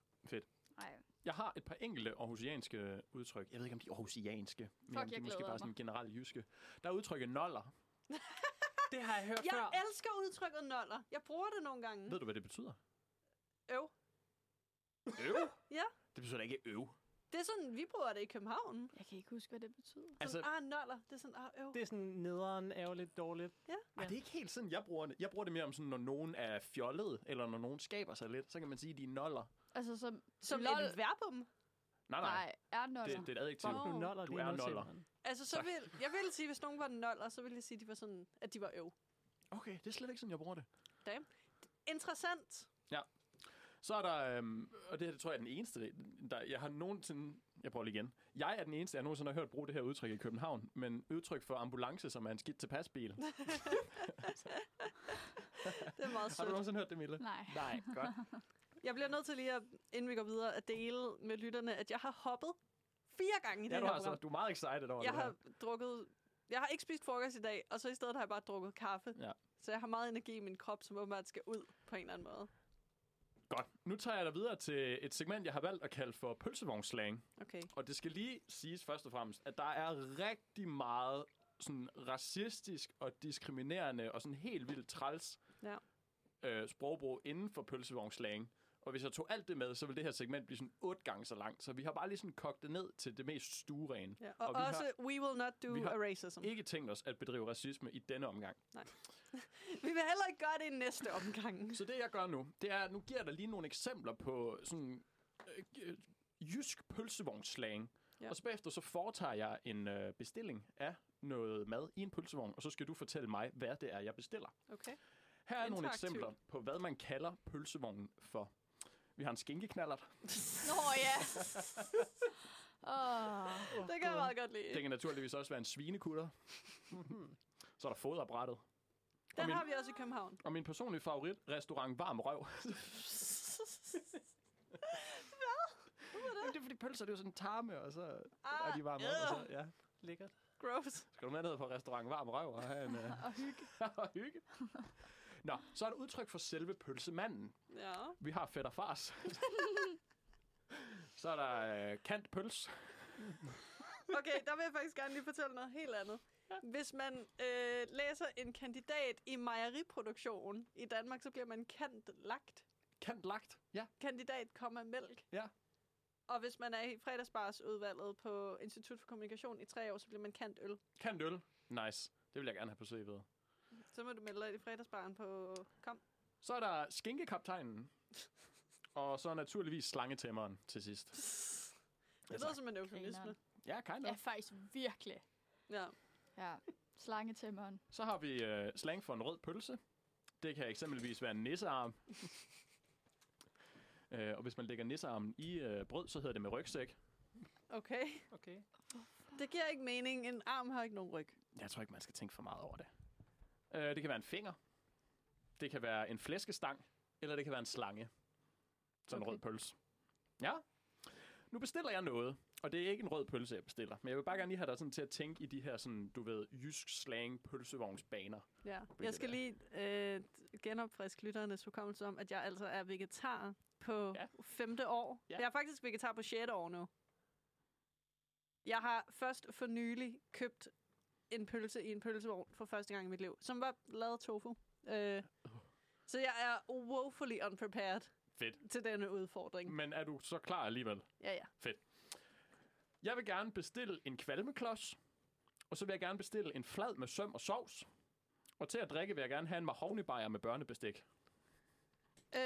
Speaker 4: Nej.
Speaker 6: Jeg har et par enkelte aarhusianske udtryk. Jeg ved ikke, om de er aarhusianske. men
Speaker 4: jeg
Speaker 6: de er måske
Speaker 4: glæder
Speaker 6: bare sådan generelt jyske. Der er udtrykket noller.
Speaker 7: Det har jeg hørt
Speaker 3: Jeg
Speaker 7: før.
Speaker 3: elsker udtrykket noller. Jeg bruger det nogle gange.
Speaker 6: Ved du, hvad det betyder?
Speaker 3: Øv.
Speaker 6: Øv?
Speaker 3: Ja.
Speaker 6: Det betyder da ikke øv.
Speaker 3: Det er sådan, vi bruger det i København.
Speaker 4: Jeg kan ikke huske, hvad det betyder.
Speaker 6: Altså-
Speaker 3: Altså, ah, noller. Det er sådan, ah, øv.
Speaker 7: Det er sådan nederen, ærgerligt, dårligt.
Speaker 6: Ja. Ej, det er ikke helt sådan, jeg bruger det. Jeg bruger det mere om sådan, når nogen er fjollet, eller når nogen skaber sig lidt, så kan man sige, at de er noller.
Speaker 4: Altså, som,
Speaker 3: Som
Speaker 4: lol.
Speaker 3: et verbum.
Speaker 6: Nej, nej.
Speaker 4: Nej, er
Speaker 6: nej.
Speaker 4: noller.
Speaker 6: Det, det, er et adjektiv.
Speaker 4: Fuck.
Speaker 7: Du noller,
Speaker 6: Du
Speaker 7: det
Speaker 6: er
Speaker 7: noget
Speaker 6: noller.
Speaker 7: simpelthen.
Speaker 3: Altså, så
Speaker 6: Tak.
Speaker 3: vil, jeg ville sige, hvis nogen var noller, så ville jeg sige, at de var sådan, at de var øv.
Speaker 6: Okay, det er slet ikke sådan, jeg bruger det.
Speaker 3: Interessant. [LAUGHS]
Speaker 6: Så er der, øhm, og det her det tror jeg er den eneste, der, jeg har nogensinde, jeg prøver lige igen. Jeg er den eneste, jeg nogensinde har hørt bruge det her udtryk i København, men udtryk for ambulance, som er en skidt tilpas bil.
Speaker 3: Det er meget
Speaker 6: [LAUGHS] Har du
Speaker 3: sødt.
Speaker 6: nogensinde hørt det, Mille?
Speaker 4: Nej.
Speaker 6: Nej, godt.
Speaker 3: Jeg bliver nødt til lige, at, inden vi går videre, at dele med lytterne, at jeg har hoppet fire gange i
Speaker 6: Ja,
Speaker 3: det
Speaker 6: du,
Speaker 3: her
Speaker 6: har så,
Speaker 3: program.
Speaker 6: du er meget excited over
Speaker 3: Jeg
Speaker 6: det her.
Speaker 3: har drukket... Jeg har ikke spist frokost i dag, og så i stedet har jeg bare drukket kaffe.
Speaker 6: Ja.
Speaker 3: Så jeg har meget energi i min krop, som åbenbart skal ud på en eller anden måde.
Speaker 6: Godt. Nu tager jeg dig videre til et segment, jeg har valgt at kalde for pølsevognsslang.
Speaker 3: Okay.
Speaker 6: Og det skal lige siges først og fremmest, at der er rigtig meget sådan racistisk og diskriminerende og sådan helt vildt træls
Speaker 3: Ja.
Speaker 6: øh, sprogbrug inden for pølsevognsslang. Og hvis jeg tog alt det med, så ville det her segment blive sådan otte gange så langt. Så vi har bare lige sådan kogt det ned til det mest stuerene.
Speaker 3: Ja. Og,
Speaker 6: Og
Speaker 3: og
Speaker 6: vi har-
Speaker 3: også, we will not do
Speaker 6: vi har
Speaker 3: a racism.
Speaker 6: Ikke tænkt os at bedrive racisme i denne omgang.
Speaker 3: Vi vil heller ikke gøre det i næste omgang.
Speaker 6: Så det, jeg gør nu, det er, at nu giver jeg dig lige nogle eksempler på sådan øh, øh, jysk pølsevognsslang.
Speaker 3: Ja.
Speaker 6: Ja. Og så bagefter så foretager jeg en øh, bestilling af noget mad i en pølsevogn, og så skal du fortælle mig, hvad det er, jeg bestiller.
Speaker 3: Okay.
Speaker 6: Her er nogle
Speaker 3: Interaktivt.
Speaker 6: eksempler på, hvad man kalder pølsevognen for. Vi har en skinkeknallert.
Speaker 4: Nå
Speaker 6: [LAUGHS]
Speaker 4: ja. Åh.
Speaker 3: Det kan jeg meget godt lide.
Speaker 6: Det kan naturligvis også være en svinekutter. så er der foderbrættet.
Speaker 3: Den
Speaker 6: min-
Speaker 3: har vi også i København.
Speaker 6: [LAUGHS] Og min personlige favorit, restaurant Varm Røv. Jamen, det er fordi pølser, det er jo sådan en tarme, og så er de varme. Øh. Og så, ja.
Speaker 7: Lækkert.
Speaker 3: Ah. Gross.
Speaker 6: Skal du med ned på restaurant Varm Røv og [LAUGHS] have en... Uh... og hygge. og hygge. Nå, så er det udtryk for selve pølsemanden.
Speaker 3: Ja.
Speaker 6: [LAUGHS] Vi har fætter [LAUGHS] fars. så er der uh, kant pøls.
Speaker 3: Okay, der vil jeg faktisk gerne lige fortælle noget helt andet. Hvis man øh, læser en kandidat i mejeriproduktion i Danmark, så bliver man kendt lagt.
Speaker 6: Kant lagt. Ja.
Speaker 3: Kandidat, komma, mælk.
Speaker 6: Ja.
Speaker 3: Og hvis man er i fredagsbarsudvalget på Institut for Kommunikation i tre år, så bliver man kendt øl.
Speaker 6: Kant øl. Nice. Det vil jeg gerne have på CV'et.
Speaker 3: Så må du melde dig i fredagsbaren på Kom.
Speaker 6: Så er der skinkekaptajnen. Og så naturligvis slangetæmmeren til sidst.
Speaker 3: Det lyder som en eufemisme.
Speaker 4: Grineren.
Speaker 6: Ja, kind
Speaker 4: Ja,
Speaker 6: of.
Speaker 4: faktisk virkelig.
Speaker 3: Ja.
Speaker 4: Ja, slangetæmmeren.
Speaker 6: Så har vi øh, slang for en rød pølse. Det kan eksempelvis være en [LAUGHS] nissearm. øh, og hvis man lægger nissearmen i øh, brød, så hedder det med rygsæk.
Speaker 3: Okay.
Speaker 7: Okay.
Speaker 3: Det giver ikke mening. En arm har ikke nogen ryg.
Speaker 6: Jeg tror ikke, man skal tænke for meget over det. Øh, det kan være en finger. Det kan være en flæskestang. Eller det kan være en slange. Sådan en rød pølse. Ja. Nu bestiller jeg noget. Og det er ikke en rød pølse, jeg bestiller. Men jeg vil bare gerne lige have dig sådan til at tænke i de her, sådan, du ved, jysk slang pølsevognsbaner.
Speaker 3: Ja. Jeg skal
Speaker 6: det
Speaker 3: lige øh, genopfriske lytternes hukommelse om, at jeg altså er vegetar på ja.
Speaker 6: Ja.
Speaker 3: femte år. Ja.
Speaker 6: Ja.
Speaker 3: Jeg er faktisk vegetar på sjette år nu. Jeg har først for nylig købt en pølse i en pølsevogn for første gang i mit liv, som var lavet af tofu. Øh, så jeg er woefully unprepared
Speaker 6: Fedt.
Speaker 3: til denne udfordring.
Speaker 6: Men er du så klar alligevel?
Speaker 3: Ja, ja.
Speaker 6: Jeg vil gerne bestille en kvalmeklods, og så vil jeg gerne bestille en flad med søm og sovs. Og til at drikke vil jeg gerne have en mahognibajer med børnebestik.
Speaker 3: Øh,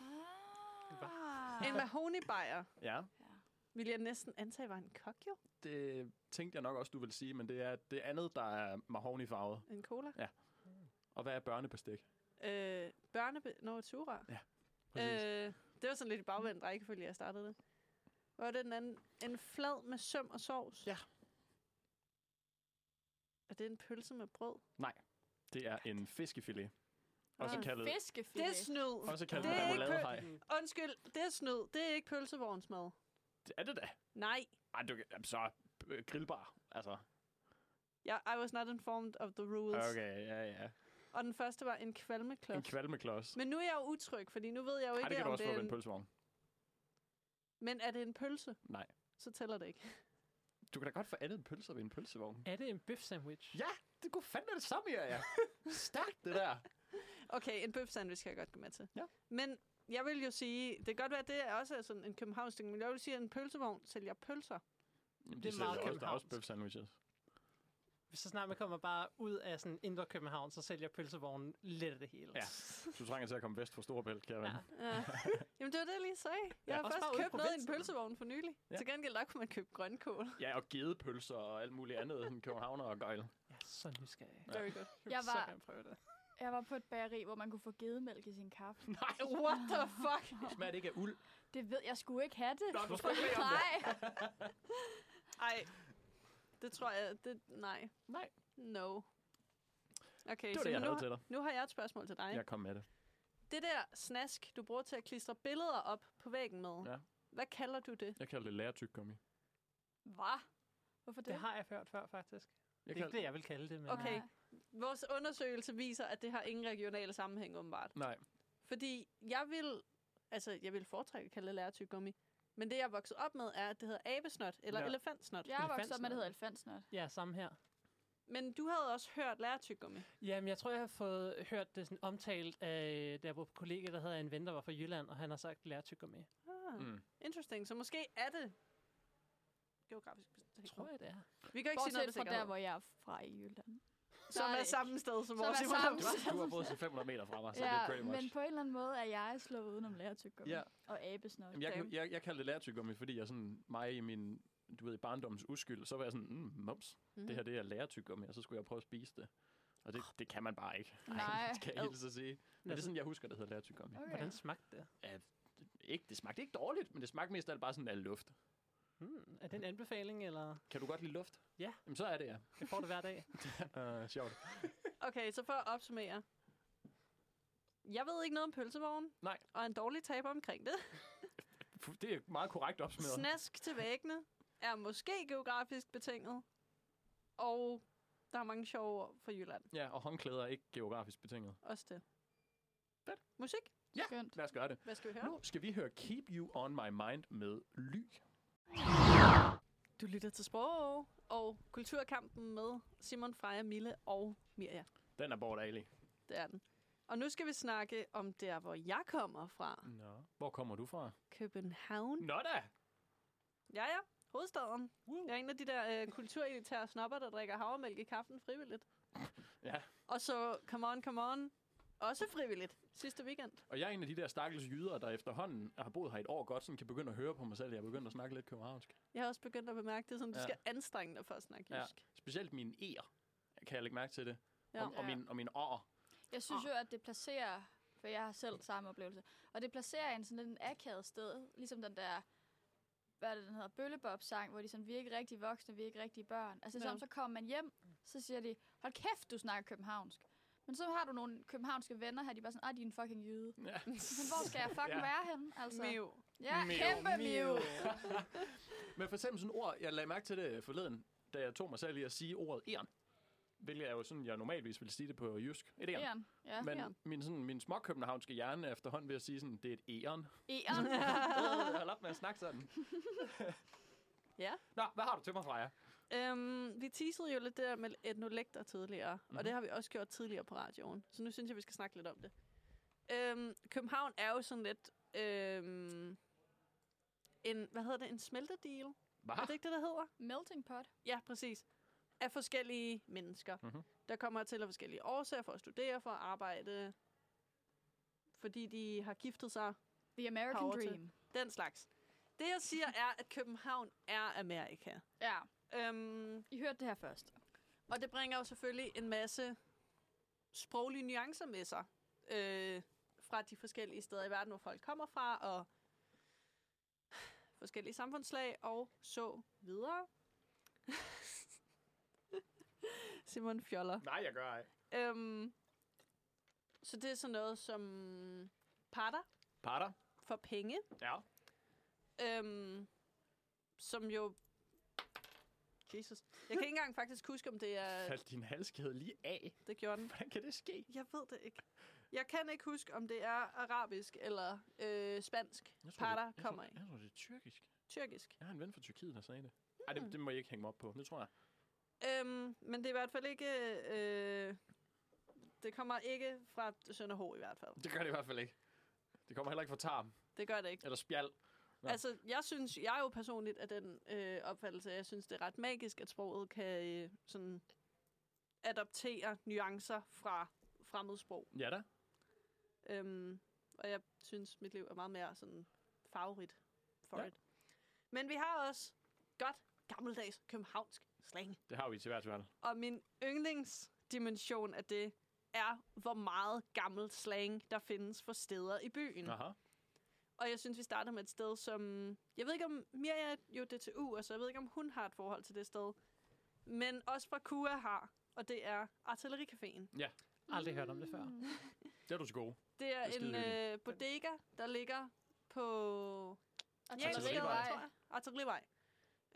Speaker 4: Ah.
Speaker 3: en mahoney-bajer
Speaker 6: Ja,
Speaker 3: vil jeg næsten antage var en kok, jo.
Speaker 6: det tænkte jeg nok også, du vil sige, men det er det andet, der er mahognifarvet.
Speaker 3: En cola.
Speaker 6: Og hvad er børnebestik?
Speaker 3: Øh, børnebe... Nå, Tura.
Speaker 6: Præcis.
Speaker 3: Øh, det var sådan lidt i bagvendt rækkefølge, jeg startede det. Hvad var det den anden? En flad med søm og sovs?
Speaker 6: Ja.
Speaker 3: Er det en pølse med brød?
Speaker 6: Det er en fiskefilet. Også
Speaker 3: Ah.
Speaker 6: kaldet,
Speaker 3: Det er
Speaker 4: Fiskefilet.
Speaker 3: snyd.
Speaker 6: også kaldet
Speaker 3: Det er ikke
Speaker 6: remoladehej.
Speaker 3: Undskyld, det er snyd. Det er ikke pølsevognsmad.
Speaker 6: Det er det da.
Speaker 3: Nej.
Speaker 6: Ej, du, kan- jamen, så øh, grillbar. Altså, Ah,
Speaker 3: Jeg, I was not informed of the rules.
Speaker 6: okay, ja, ja.
Speaker 3: Og den første var en
Speaker 6: En
Speaker 3: kvalmeklods.
Speaker 6: kvalmeklods.
Speaker 3: Men nu er jeg jo utryg, fordi nu ved jeg jo
Speaker 6: Ej,
Speaker 3: ikke,
Speaker 6: det kan du
Speaker 3: om
Speaker 6: også
Speaker 3: det
Speaker 6: få
Speaker 3: er
Speaker 6: ved en
Speaker 3: en...
Speaker 6: pølsevogn.
Speaker 3: Men er det en pølse?
Speaker 6: Nej.
Speaker 3: Så tæller det ikke.
Speaker 6: Du kan da godt få andet end pølser ved en pølsevogn.
Speaker 7: Er det en bøf sandwich?
Speaker 6: Ja, det går fandme det samme, jeg er. Stærkt, det der.
Speaker 3: Okay, en bøf sandwich kan jeg godt gå med til.
Speaker 6: Ja.
Speaker 3: Men jeg vil jo sige, det kan godt være, at det er også sådan en københavns ting, men jeg vil sige, at en pølsevogn sælger pølser.
Speaker 6: Jamen,
Speaker 7: Det er
Speaker 6: de sælger
Speaker 7: meget
Speaker 6: også, der er også
Speaker 7: københavnsk.
Speaker 6: bøf sandwiches.
Speaker 7: Så snart man kommer bare ud af sådan indre København, så sælger pølsevognen lidt af det hele.
Speaker 6: Ja. Du trænger til at komme vest for Storebælt, kære ven.
Speaker 7: Ja.
Speaker 3: Ja. [LAUGHS] Jamen, det var det, jeg lige sagde. Jeg har
Speaker 7: også bare
Speaker 3: først
Speaker 7: ude i
Speaker 3: købt noget i en
Speaker 7: provinsen.
Speaker 3: pølsevogn for nylig. Ja.
Speaker 6: Ja.
Speaker 3: Til gengæld, der kunne man købe grønkål.
Speaker 6: Ja, og gedepølser og alt muligt andet end københavner og gøjl.
Speaker 7: Jeg er så nysgerrig.
Speaker 6: Ja.
Speaker 3: Very good.
Speaker 7: vil
Speaker 4: Jeg
Speaker 7: så
Speaker 4: var-
Speaker 7: gerne
Speaker 3: [LAUGHS]
Speaker 7: prøve det.
Speaker 4: Jeg var på et bageri, hvor man kunne få gedemælk i sin kaffe.
Speaker 6: Nej,
Speaker 3: What the fuck?
Speaker 6: smager det ikke af uld?
Speaker 4: Det ved jeg skulle ikke have det.
Speaker 6: Nå, du skulle ikke bede om det.
Speaker 4: Nej.
Speaker 3: Ej, det tror jeg, det, nej.
Speaker 6: Nej.
Speaker 3: No. Okay,
Speaker 6: Det var
Speaker 3: så
Speaker 6: det, jeg
Speaker 3: nu,
Speaker 6: havde
Speaker 3: har-
Speaker 6: til dig.
Speaker 3: nu har jeg et spørgsmål til dig.
Speaker 6: Jeg kom med det.
Speaker 3: Det der snask, du bruger til at klistre billeder op på væggen med,
Speaker 6: Ja.
Speaker 3: hvad kalder du det?
Speaker 6: Jeg kalder det lærertyggegummi.
Speaker 4: Hvad? Hvorfor det?
Speaker 7: Det har jeg hørt før, faktisk.
Speaker 6: Jeg
Speaker 7: Det er ikke
Speaker 6: kalder...
Speaker 7: det, jeg vil kalde det, men
Speaker 3: Okay.
Speaker 4: Nej.
Speaker 3: Vores undersøgelse viser, at det har ingen regionale sammenhæng, åbenbart.
Speaker 6: Nej,
Speaker 3: Fordi jeg vil, altså jeg vil foretrække at kalde det lærertyggegummi, men det jeg er vokset op med er, at det hedder abesnot eller ja.
Speaker 6: Ja.
Speaker 3: elefantsnot.
Speaker 4: Jeg er vokset op
Speaker 7: Elefantsnot.
Speaker 4: med, det hedder elefantsnot.
Speaker 7: ja, samme her.
Speaker 3: Men du havde også hørt lærertyggegummi.
Speaker 7: Jamen, jeg tror, jeg har fået hørt det sådan omtalt af, da jeg var på kollega, der havde en ven, der var fra Jylland, og han har sagt, lærtykker med.
Speaker 3: Ah, mm.
Speaker 6: mm.
Speaker 3: Interesting. Så måske er det geografisk.
Speaker 7: Tror jeg, det er.
Speaker 3: Vi kan jo ikke sige noget med
Speaker 4: Bortset fra der,
Speaker 3: sikkerhed.
Speaker 4: hvor jeg er fra i Jylland.
Speaker 3: Som
Speaker 4: der
Speaker 3: er
Speaker 4: er-
Speaker 3: samme sted som
Speaker 4: som
Speaker 3: vores
Speaker 4: er
Speaker 3: Simon.
Speaker 4: samme
Speaker 6: Du, du har boet så 500 meter fra mig, så det er pretty much.
Speaker 4: men på en eller anden måde er jeg slået udenom lærertyggegummi
Speaker 6: Ja.
Speaker 4: og abesnot.
Speaker 6: Jamen, jeg,
Speaker 3: Damn.
Speaker 6: kunne- jeg, jeg kaldte det lærertyggegummi, fordi jeg sådan, mig i min, du ved, i barndommens uskyld, så var jeg sådan, mm, mums, mm. det her det er lærertyggegummi, og så skulle jeg prøve at spise det. Og det, det kan man bare ikke.
Speaker 4: Nej.
Speaker 6: det kan jeg hilse at sige. Men det er
Speaker 7: Altså-
Speaker 6: sådan, jeg husker, det hedder lærertyggegummi.
Speaker 4: Okay.
Speaker 7: Hvordan smagte det?
Speaker 6: Ikke, det smagte ikke dårligt, men det smagte mest af alt bare sådan af luft.
Speaker 7: Hmm, er det en anbefaling, eller
Speaker 6: Kan du godt lide luft?
Speaker 7: Ja.
Speaker 6: Jamen, så er [LAUGHS] det, ja.
Speaker 7: jeg får det hver dag?
Speaker 6: Uh, sjovt.
Speaker 3: Okay, så for at opsummere. Jeg ved ikke noget om pølsevogn.
Speaker 6: Nej.
Speaker 3: Og er en dårlig taber omkring det.
Speaker 6: Fu- Det er meget korrekt opsummeret.
Speaker 3: Snask til væggene er måske geografisk betinget. Og der er mange sjove ord fra Jylland.
Speaker 6: Ja, og håndklæder er ikke geografisk betinget.
Speaker 3: Også det.
Speaker 6: Fedt.
Speaker 3: Musik.
Speaker 6: Ja.
Speaker 4: Skønt.
Speaker 6: Lad os gøre det.
Speaker 3: Hvad skal vi høre?
Speaker 6: Nu skal vi høre Keep You On My Mind med Ly.
Speaker 3: Du lytter til Sprog og Kulturkampen med Simon Freja, Mille og Mirja.
Speaker 6: Den er Bort Ali.
Speaker 3: Det er den. Og nu skal vi snakke om der, hvor jeg kommer fra.
Speaker 6: Nå. Hvor kommer du fra?
Speaker 3: København.
Speaker 6: Nå da!
Speaker 3: Ja, ja. Hovedstaden.
Speaker 6: Woo.
Speaker 3: Jeg er en af de der øh, kulturelitære snopper, der drikker havremælk i kaffen frivilligt.
Speaker 6: Ja.
Speaker 3: Og så Come On, Come On. Også frivilligt. Sidste weekend.
Speaker 6: Og jeg er en af de der stakkels jyder, der efterhånden har boet her et år godt, sådan kan begynde at høre på mig selv. Jeg er begyndt at snakke lidt københavnsk.
Speaker 3: Jeg har også begyndt at bemærke det, sådan, du
Speaker 6: Ja.
Speaker 3: skal anstrenge dig for at snakke
Speaker 6: Ja.
Speaker 3: jysk.
Speaker 6: Specielt mine E'er. Kan jeg lægge mærke til det?
Speaker 3: Ja.
Speaker 6: Og, og, min, og min O'er.
Speaker 4: Jeg synes jo, at det placerer, for jeg har selv samme oplevelse, og det placerer en sådan lidt en akavet sted, ligesom den der, hvad er det, den hedder, Bøllebob-sang, hvor de sådan, vi er ikke rigtig voksne, vi er ikke rigtig børn. Altså
Speaker 3: Ja.
Speaker 4: ja. så kommer man hjem, så siger de, hold kæft, du snakker københavnsk. Men så har du nogle københavnske venner her, de er bare sådan, ah, de er en fucking jyde.
Speaker 6: Ja.
Speaker 4: Men hvor skal jeg fucking
Speaker 6: Ja.
Speaker 4: være henne? Altså,
Speaker 3: Miu.
Speaker 4: Ja,
Speaker 6: Miu.
Speaker 4: kæmpe miu.
Speaker 6: Men for eksempel sådan et ord, jeg lagde mærke til det forleden, da jeg tog mig selv i at sige ordet E'eren. Hvilket er jo sådan, jeg normalvis ville sige det på jysk. Et E'eren.
Speaker 4: Eren. Ja.
Speaker 6: Men
Speaker 3: E'eren.
Speaker 6: min, sådan, min småkøbenhavnske hjerne er efterhånden ved at sige sådan, det er et E'eren. [LAUGHS]
Speaker 4: Eren.
Speaker 6: Øh, Hold op med at snakke sådan.
Speaker 3: Ja.
Speaker 6: Nå, hvad har du til mig, Freja?
Speaker 3: Øhm, vi teasede jo lidt det der med etnolekter tidligere, mm-hmm.
Speaker 6: Mhm.
Speaker 3: og det har vi også gjort tidligere på radioen. Så nu synes jeg, vi skal snakke lidt om det. Øhm, København er jo sådan lidt... Øhm, en, hvad hedder det? En smeltedeal?
Speaker 6: Hvad?
Speaker 3: Er det ikke det, der hedder?
Speaker 4: Melting pot.
Speaker 3: Ja, præcis. Af forskellige mennesker,
Speaker 6: Mhm.
Speaker 3: der kommer til af forskellige årsager for at studere, for at arbejde, fordi de har giftet sig,
Speaker 4: The American
Speaker 3: Power to-
Speaker 4: Dream.
Speaker 3: den slags. Det, jeg siger, er, at København er Amerika.
Speaker 4: Ja,
Speaker 3: Øhm,
Speaker 4: I hørte det her først.
Speaker 3: og det bringer jo selvfølgelig en masse sproglige nuancer med sig øh, fra de forskellige steder i verden, hvor folk kommer fra, og forskellige samfundslag, og så videre. [LAUGHS] Simon Fjoller.
Speaker 6: Nej, jeg gør ej.
Speaker 3: Øhm, så det er sådan noget som parter
Speaker 6: Parter?
Speaker 3: for penge,
Speaker 6: Ja.
Speaker 3: øhm, som jo... Jesus. Jeg kan ikke engang faktisk huske, om det er...
Speaker 6: Faldt din halskæde lige af?
Speaker 3: Det gjorde den.
Speaker 6: Hvordan kan det ske?
Speaker 3: Jeg ved det ikke. Jeg kan ikke huske, om det er arabisk eller øh, spansk.
Speaker 6: Jeg tror,
Speaker 3: Parter
Speaker 6: det, jeg
Speaker 3: kommer
Speaker 6: tror,
Speaker 3: af.
Speaker 6: Jeg tror, det er tyrkisk.
Speaker 3: Tyrkisk.
Speaker 6: Jeg har en ven fra Tyrkiet, der sagde det. Ej, det, det må jeg ikke hænge mig op på. Det tror jeg.
Speaker 3: Øhm, men det er i hvert fald ikke... Øh, det kommer ikke fra Sønderho i hvert fald.
Speaker 6: Det gør det i hvert fald ikke. Det kommer heller ikke fra tarm
Speaker 3: Det gør det ikke.
Speaker 6: eller spjald. Nå.
Speaker 3: Altså, jeg synes, jeg er jo personligt af den øh, opfattelse, at jeg synes, det er ret magisk, at sproget kan øh, sådan adoptere nuancer fra fremmedsprog.
Speaker 6: Ja da.
Speaker 3: Øhm, og jeg synes, mit liv er meget mere sådan farverigt for
Speaker 6: Ja.
Speaker 3: ja. it. Men vi har også godt gammeldags københavnsk slang.
Speaker 6: Det har vi til hvert fald.
Speaker 3: Og min yndlingsdimension af det er, hvor meget gammel slang, der findes for steder i byen.
Speaker 6: Aha.
Speaker 3: Og jeg synes, vi starter med et sted, som... Jeg ved ikke, om Mia er jo DTU, og så jeg ved ikke, om hun har et forhold til det sted. Men også fra Kua har, og det er Artillericaféen.
Speaker 7: Aldrig hørt om det før.
Speaker 4: Mm.
Speaker 6: Det er du til gode.
Speaker 3: Det er
Speaker 6: Det er
Speaker 3: en
Speaker 6: skidehyggeligt.
Speaker 3: øh, bodega, der ligger på... Altså,
Speaker 6: Artillerivej.
Speaker 3: tror jeg. Artillerivej.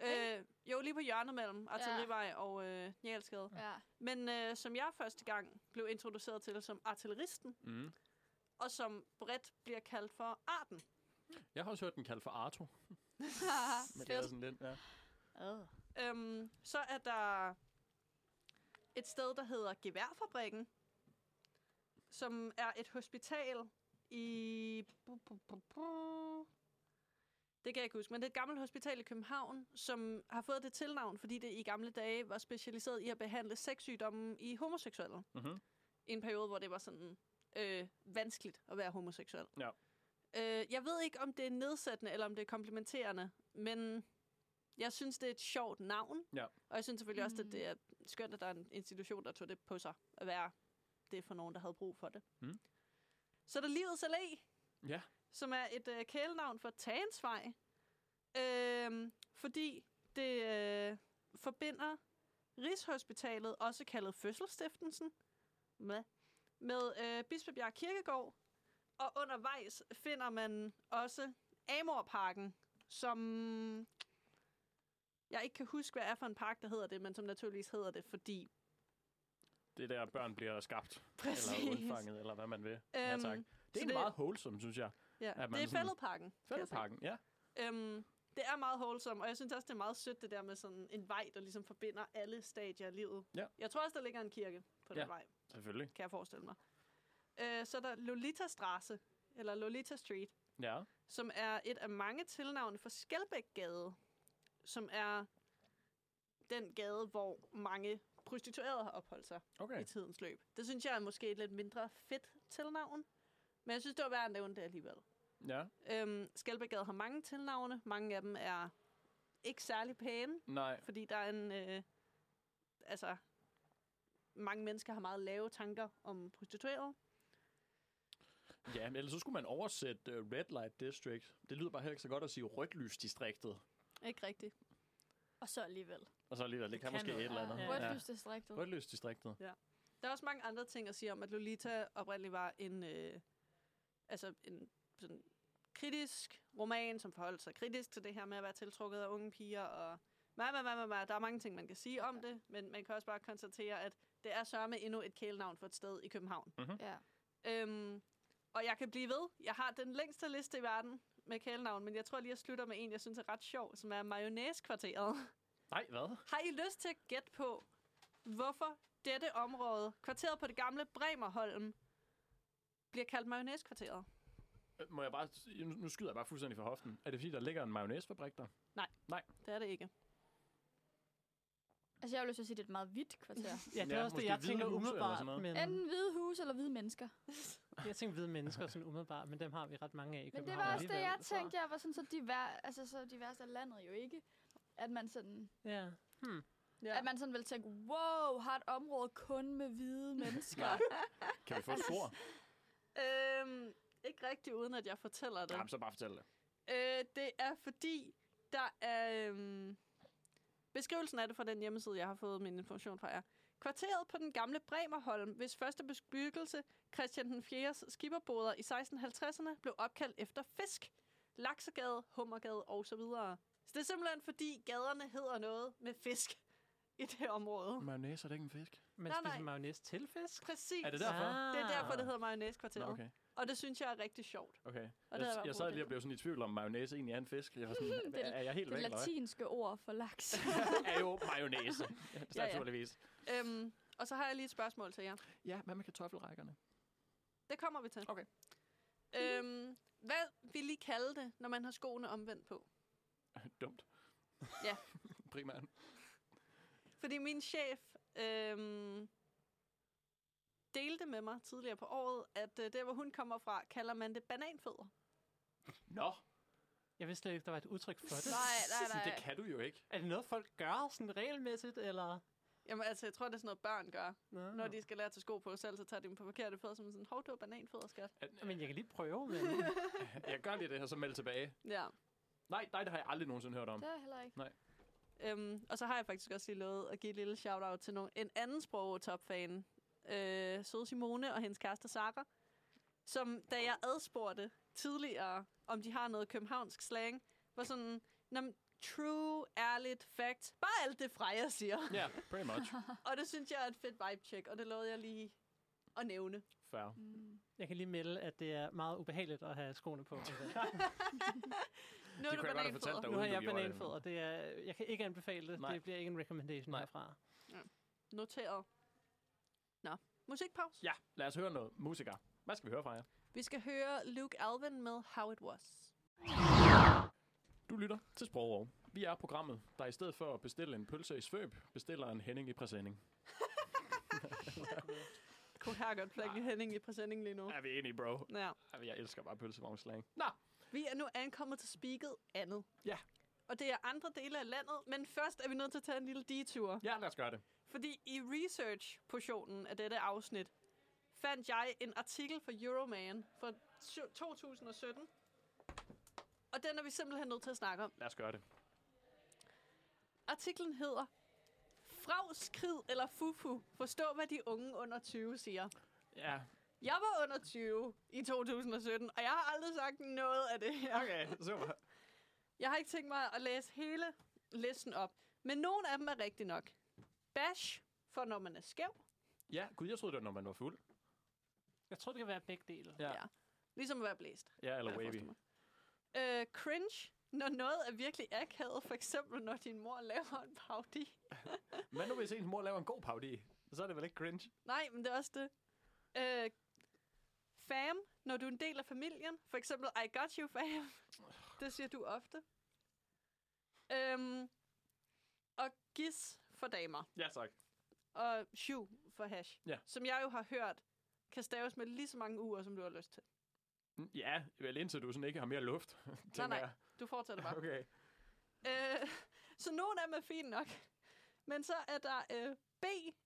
Speaker 3: Øh, jo, lige på hjørnet mellem Artillerivej og øh, Njalskade.
Speaker 4: Ja.
Speaker 3: Men øh, som jeg første gang blev introduceret til som artilleristen,
Speaker 6: Mm.
Speaker 3: og som bredt bliver kaldt for Arten.
Speaker 6: Jeg har også hørt den kaldt for Arto.
Speaker 4: [LAUGHS]
Speaker 6: Men det er
Speaker 4: Fedt.
Speaker 6: sådan lidt, ja.
Speaker 4: Ad.
Speaker 3: Øhm, så er der et sted, der hedder Geværfabrikken, som er et hospital i... bu- bu- bu- bu- Det kan jeg ikke huske, men det er et gammelt hospital i København, som har fået det tilnavn, fordi det i gamle dage var specialiseret i at behandle sexsygdomme i homoseksuelle.
Speaker 6: Mhm.
Speaker 3: I en periode, hvor det var sådan øh, vanskeligt at være homoseksuel.
Speaker 6: Ja.
Speaker 3: Øh, jeg ved ikke, om det er nedsættende, eller om det er komplimenterende, men jeg synes, det er et sjovt navn.
Speaker 6: Ja.
Speaker 3: Og jeg synes selvfølgelig også, at
Speaker 4: Mm.
Speaker 3: det er skønt, at der er en institution, der tog det på sig at være det for nogen, der havde brug for det.
Speaker 6: Mm.
Speaker 3: Så er der Livets Allé,
Speaker 6: Ja.
Speaker 3: som er et øh, kælenavn for Tagensvej, øh, fordi det øh, forbinder Rigshospitalet, også kaldet Fødselsstiftelsen, med, med øh, Bispebjerg Kirkegård, og undervejs finder man også Amorparken, som jeg ikke kan huske, hvad er for en park, der hedder det, men som naturligvis hedder det, fordi...
Speaker 6: Det er der, børn bliver skabt.
Speaker 3: Præcis.
Speaker 6: Eller udfanget, eller hvad man vil. ja,
Speaker 3: Øhm,
Speaker 6: tak. Det er egentlig
Speaker 3: det-
Speaker 6: meget wholesome, synes jeg.
Speaker 3: Ja,
Speaker 6: man
Speaker 3: det er
Speaker 6: sådan-
Speaker 3: Fælledparken. kan jeg se.
Speaker 6: Fældeparken, ja.
Speaker 3: Øhm, det er meget wholesome, og jeg synes også, det er meget sødt, det der med sådan en vej, der ligesom forbinder alle stadier af livet.
Speaker 6: Ja.
Speaker 3: Jeg tror også, der ligger en kirke på den
Speaker 6: Ja.
Speaker 3: vej,
Speaker 6: Selvfølgelig.
Speaker 3: kan jeg forestille mig. Øh, så er der Lolita Strasse, eller Lolita Street,
Speaker 6: Ja.
Speaker 3: som er et af mange tilnavne for Skelbækgade, som er den gade, hvor mange prostituerede har opholdt sig
Speaker 6: Okay.
Speaker 3: i tidens løb. Det synes jeg er måske et lidt mindre fedt tilnavn, men jeg synes, det var værd at nævne det alligevel.
Speaker 6: Ja.
Speaker 3: Øhm, Skelbækgade har mange tilnavne. Mange af dem er ikke særlig pæne,
Speaker 6: Nej.
Speaker 3: fordi der er en... Øh, altså, mange mennesker har meget lave tanker om prostituerede.
Speaker 6: Ja, men ellers så skulle man oversætte uh, Red Light District. Det lyder bare heller ikke så godt at sige rødt lys distriktet.
Speaker 3: Ikke rigtigt.
Speaker 4: Og så alligevel.
Speaker 6: Og så alligevel, det kan,
Speaker 7: kan
Speaker 6: måske
Speaker 7: noget.
Speaker 6: et eller andet.
Speaker 7: Ja.
Speaker 4: Rødt lysdistriktet.
Speaker 6: Rødt lys distriktet.
Speaker 3: Der er også mange andre ting at sige om, at Lolita oprindeligt var en... Øh, altså, en sådan kritisk roman, som forholdt sig kritisk til det her med at være tiltrukket af unge piger, og ma, ma, ma, ma, ma. der er mange ting, man kan sige om det, men man kan også bare konstatere, at det er sørme endnu et kælenavn for et sted i København.
Speaker 4: Ja.
Speaker 3: Øhm, og jeg kan blive ved. Jeg har den længste liste i verden med kælenavn, men jeg tror lige, jeg slutter med en, jeg synes er ret sjov, som er Mayonnaise-kvarteret.
Speaker 6: Nej, hvad?
Speaker 3: Har I lyst til at gætte på, hvorfor dette område, kvarteret på det gamle Bremerholm, bliver kaldt Mayonnaise-kvarteret?
Speaker 6: Øh, Må jeg bare... Nu nu skyder jeg bare fuldstændig fra hoften. Er det fordi, der ligger en mayonnaisefabrik der?
Speaker 3: Det er det ikke.
Speaker 4: Altså, jeg har lyst til at sige, at det er et meget
Speaker 6: [LAUGHS]
Speaker 4: hvidt kvarter.
Speaker 7: Ja, det er
Speaker 6: Ja,
Speaker 7: også det,
Speaker 6: måske
Speaker 7: jeg
Speaker 6: hvide
Speaker 7: tænker
Speaker 6: huse eller
Speaker 7: umiddelbart.
Speaker 6: sådan noget.
Speaker 7: Men
Speaker 4: Enten hvide huse eller hvide mennesker.
Speaker 7: [LAUGHS] jeg tænker hvide mennesker sådan umiddelbart, men dem har vi ret mange af i
Speaker 4: Men
Speaker 7: København.
Speaker 4: det var også det,
Speaker 7: alligevel,
Speaker 4: jeg
Speaker 7: så-
Speaker 4: tænkte. Jeg var sådan så divers, altså så divers er landet jo ikke. At man sådan,
Speaker 7: Ja. Hmm.
Speaker 4: ja. at man sådan vil tænke, wow, har et område kun med
Speaker 6: [LAUGHS]
Speaker 4: hvide mennesker.
Speaker 6: Kan vi få et spor?
Speaker 3: Øhm, ikke rigtigt, uden at jeg fortæller det.
Speaker 6: [LAUGHS] Jamen, så bare fortæl det.
Speaker 3: Øh, det er fordi, der er... Øhm, beskrivelsen af det fra den hjemmeside, jeg har fået min information fra jer. Kvarteret på den gamle Bremerholm, hvis første bebyggelse, Christian den 4. skibberboder i 1650'erne, blev opkaldt efter fisk. Laksegade, Hummergade og så videre. Så det er simpelthen fordi gaderne hedder noget med fisk [LAUGHS] i det område.
Speaker 6: Mayonnaise er det ikke en fisk?
Speaker 7: Man
Speaker 3: Nej,
Speaker 7: spiser
Speaker 3: nej.
Speaker 7: mayonnaise til fisk? Ah.
Speaker 3: Præcis.
Speaker 6: Er det derfor?
Speaker 3: Det er derfor, det hedder Mayonnaise
Speaker 6: Nå,
Speaker 3: Kvarteret.
Speaker 6: okay.
Speaker 3: Og det synes jeg er rigtig sjovt.
Speaker 6: Okay.
Speaker 3: Og
Speaker 6: Og
Speaker 3: det
Speaker 6: jeg,
Speaker 3: er
Speaker 6: jeg,
Speaker 3: bare
Speaker 6: sad lige
Speaker 3: brugt
Speaker 6: og
Speaker 3: det.
Speaker 6: blev sådan i tvivl om, mayonnaise egentlig er en fisk. Jeg var sådan,
Speaker 4: Det er-
Speaker 6: er, er jeg helt
Speaker 4: Det
Speaker 6: væk, eller hvad?
Speaker 4: latinske ord for
Speaker 6: [LAUGHS]
Speaker 4: laks.
Speaker 6: er jo mayonnaise.
Speaker 3: ja.
Speaker 6: Naturligvis.
Speaker 3: Øhm, og så har jeg lige et spørgsmål til jer.
Speaker 6: Ja, hvad med kartoffelrækkerne?
Speaker 3: Det kommer vi til.
Speaker 6: Okay.
Speaker 3: Øhm, hvad vil I kalde det, når man har skoene omvendt på?
Speaker 6: Dumt.
Speaker 3: Ja.
Speaker 6: [LAUGHS] Primært.
Speaker 3: Fordi min chef øhm, delte med mig tidligere på året, at øh, der, hvor hun kommer fra, kalder man det bananfødder.
Speaker 6: Nå,
Speaker 7: Jeg vidste slet ikke, der var et udtryk for det.
Speaker 4: nej, nej,
Speaker 6: sådan, det
Speaker 4: nej.
Speaker 6: kan du jo ikke.
Speaker 7: Er det noget, folk gør sådan regelmæssigt, eller?
Speaker 3: Jamen altså, jeg tror, det er sådan noget, børn gør.
Speaker 7: Nå.
Speaker 3: Når de skal lære at tage sko på selv, så tager de dem på forkerte fødder, som sådan, hov, det var bananfødder, skat.
Speaker 7: Men jeg kan lige prøve, men...
Speaker 6: Jeg gør lige det her, så meld tilbage.
Speaker 3: Ja.
Speaker 6: Nej, nej, det har jeg aldrig nogensinde hørt om.
Speaker 4: [LAUGHS] Det er heller ikke.
Speaker 3: Øhm, og så har jeg faktisk også lige lovet at give et lille shout-out til nogen, en anden sprogtopfan, øh, Søde Simone og hendes kæreste Sara, som da jeg adspurgte tidligere, om de har noget københavnsk slang, var sådan, "Nå, men true, ærligt, fact, bare alt det Freja siger.
Speaker 6: Ja, yeah, pretty much.
Speaker 3: og det synes jeg er et fedt vibe-check, og det lovede jeg lige at nævne. [LAUGHS]
Speaker 6: Fair.
Speaker 4: Mm.
Speaker 7: Jeg kan lige melde, at det er meget ubehageligt at have
Speaker 6: [LAUGHS]
Speaker 7: skoene på.
Speaker 3: Nu
Speaker 6: Det
Speaker 3: er det
Speaker 6: kunne jeg godt have fortalt
Speaker 3: bananfødder.
Speaker 6: dig,
Speaker 7: nu har
Speaker 6: uden du
Speaker 7: jeg
Speaker 6: gjorde det.
Speaker 7: bananfødder. Det er, jeg kan ikke anbefale det.
Speaker 6: Nej.
Speaker 7: Det bliver ikke en recommendation
Speaker 6: Nej.
Speaker 7: herfra.
Speaker 3: Noteret. Nå, musikpause.
Speaker 6: Ja, lad os høre noget. Musiker. Hvad skal vi høre fra jer?
Speaker 3: Vi skal høre Luke Alvin med How It Was.
Speaker 6: Du lytter til Sprogov. Vi er programmet, der i stedet for at bestille en pølse i svøb, bestiller en Henning i præsending.
Speaker 3: Kunne her godt plukke Henning i præsending lige nu.
Speaker 6: Er vi enige, bro?
Speaker 3: Ja.
Speaker 6: Er vi- Jeg elsker bare pølsevognsslang. Nå,
Speaker 3: Vi er nu ankommet til speaket andet.
Speaker 6: Ja.
Speaker 3: Og det er andre dele af landet, men først er vi nødt til at tage en lille detur.
Speaker 6: ja, lad os gøre det.
Speaker 3: Fordi i research-portionen af dette afsnit, fandt jeg en artikel fra Euroman fra syv- 2017. Og den er vi simpelthen nødt til at snakke om.
Speaker 6: Lad os gøre det.
Speaker 3: Artiklen hedder Fragskrid eller fufu. Forstå, hvad de unge under 20 siger.
Speaker 6: Ja,
Speaker 3: Jeg var under 20 i 2017, og jeg har aldrig sagt noget af det her.
Speaker 6: okay, super.
Speaker 3: Jeg har ikke tænkt mig at læse hele listen op, men nogle af dem er rigtige nok. Bash, for når man er skæv,
Speaker 6: Ja, gud, jeg troede, det var, når man var fuld.
Speaker 7: Jeg tror, det kan være begge dele.
Speaker 6: Ja,
Speaker 3: Ja. ligesom at være blæst.
Speaker 6: ja eller
Speaker 3: kan jeg forestille
Speaker 6: wavy.
Speaker 3: mig. Øh, cringe, når noget er virkelig akavet, for eksempel når din mor laver en parodi.
Speaker 6: Men nu hvis ens mor laver en god parodi, så er det vel ikke cringe?
Speaker 3: Nej, men det er også det. Øh, fam, når du er en del af familien, for eksempel I got you fam. Det siger du ofte. Øhm, og gis for damer.
Speaker 6: Ja, tak.
Speaker 3: og syv for hash,
Speaker 6: Ja.
Speaker 3: som jeg jo har hørt, kan staves med lige så mange uger, som du har lyst til.
Speaker 6: Mm, Ja, vel indtil du sådan ikke har mere luft, [LAUGHS] tænker
Speaker 3: nej.
Speaker 6: jeg.
Speaker 3: Du fortsætter bare.
Speaker 6: [LAUGHS] Okay.
Speaker 3: øh, så nogle af dem er fint nok. Men så er der øh, B,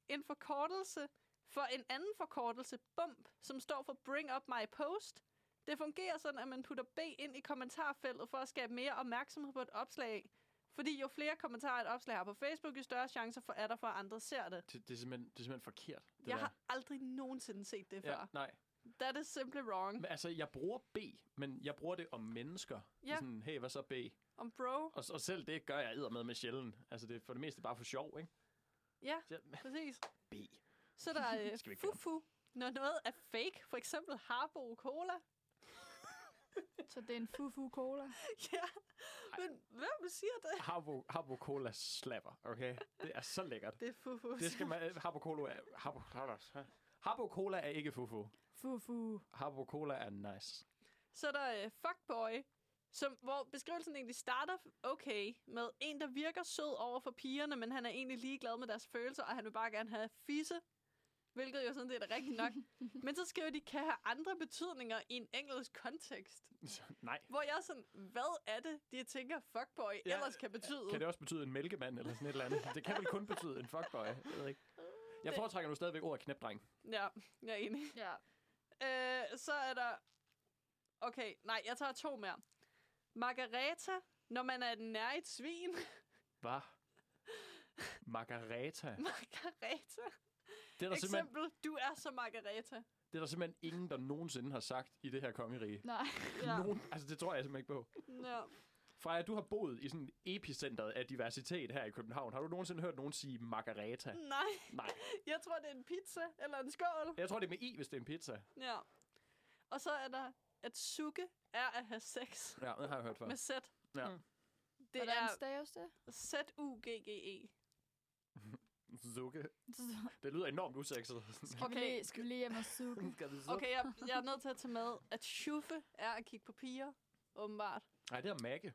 Speaker 3: en forkortelse for en anden forkortelse, BUMP, som står for Bring Up My Post. Det fungerer sådan, at man putter B ind i kommentarfeltet for at skabe mere opmærksomhed på et opslag. Fordi jo flere kommentarer et opslag har på Facebook, jo større chancer for, er der for, at andre ser det.
Speaker 6: Det, det, er, simpelthen, det er simpelthen forkert, det
Speaker 3: jeg
Speaker 6: der.
Speaker 3: har aldrig nogensinde set det
Speaker 6: Ja,
Speaker 3: før.
Speaker 6: nej.
Speaker 3: That is simply wrong.
Speaker 6: Men altså, jeg bruger B, men jeg bruger det om mennesker. Det er
Speaker 3: Ja.
Speaker 6: Sådan, hey, hvad så B?
Speaker 3: Om bro.
Speaker 6: Og, og selv det gør jeg edder med med sjældent. Altså, det er for det meste bare for sjov, ikke?
Speaker 3: Ja,
Speaker 6: Så,
Speaker 3: præcis.
Speaker 6: B.
Speaker 3: Så der er [LAUGHS]
Speaker 6: Skal vi
Speaker 3: øh,
Speaker 6: ikke gøre.
Speaker 3: fufu, når noget er fake. For eksempel Harbo Cola.
Speaker 4: Så det er en fufu cola.
Speaker 3: [LAUGHS] ja, men hvem siger det?
Speaker 6: Harbo, Harbo Cola slapper, okay? Det er så lækkert.
Speaker 3: Det er fufu.
Speaker 6: Det skal man... Harbo Cola er... Harbo, Harbo Cola er ikke fufu.
Speaker 4: Fufu.
Speaker 6: Harbo Cola er nice.
Speaker 3: Så er der øh, fuckboy, som, hvor beskrivelsen egentlig starter okay med en, der virker sød over for pigerne, men han er egentlig ligeglad med deres følelser, og han vil bare gerne have fisse. Hvilket jo sådan set er rigtigt [LAUGHS] nok. Men så skriver de, kan have andre betydninger i en engelsk kontekst.
Speaker 6: [LAUGHS] Nej.
Speaker 3: Hvor jeg er sådan, hvad er det, de tænker fuckboy ja,
Speaker 6: Ja,
Speaker 3: ellers kan betyde?
Speaker 6: Kan det også betyde en mælkemand eller sådan et eller andet? Det kan vel kun betyde en fuckboy. Jeg ved ikke. Jeg
Speaker 3: Det-
Speaker 6: foretrækker nu stadigvæk ordet knæpdreng.
Speaker 3: Ja, jeg er enig.
Speaker 4: Ja.
Speaker 3: Øh, så er der... Okay, nej, jeg tager to mere. Margareta, når man er et nærigt svin. [LAUGHS]
Speaker 6: Hvad? Margareta.
Speaker 3: Margareta.
Speaker 6: Det er, der simpelthen,
Speaker 3: Eksempel, du er så Margareta.
Speaker 6: det er der simpelthen ingen, der nogensinde har sagt i det her kongerige.
Speaker 4: Nej.
Speaker 3: Ja.
Speaker 6: Nogen, altså, det tror jeg simpelthen ikke på.
Speaker 3: ja.
Speaker 6: Freja, du har boet i sådan epicentret af diversitet her i København. Har du nogensinde hørt nogen sige margareta?
Speaker 3: Nej,
Speaker 6: Nej.
Speaker 3: jeg tror, det er en pizza eller en skål.
Speaker 6: Jeg tror, det er med i, hvis det er en pizza.
Speaker 3: Ja. Og så er der, at suge er at have sex
Speaker 6: Ja, det har jeg hørt før.
Speaker 3: med Z.
Speaker 6: Ja.
Speaker 7: Mm.
Speaker 3: Det
Speaker 4: Hvordan
Speaker 3: er
Speaker 4: staves det?
Speaker 3: Z-U-G-G-E.
Speaker 6: Zukke. Det lyder enormt usexet.
Speaker 4: Skal, okay. vi
Speaker 3: Okay.
Speaker 4: lige, skal vi lige hjem og suge?
Speaker 6: Skal vi
Speaker 3: Okay, jeg, jeg er nødt til at tage med, at sjuffe er at kigge på piger, åbenbart.
Speaker 6: Nej, det er mække.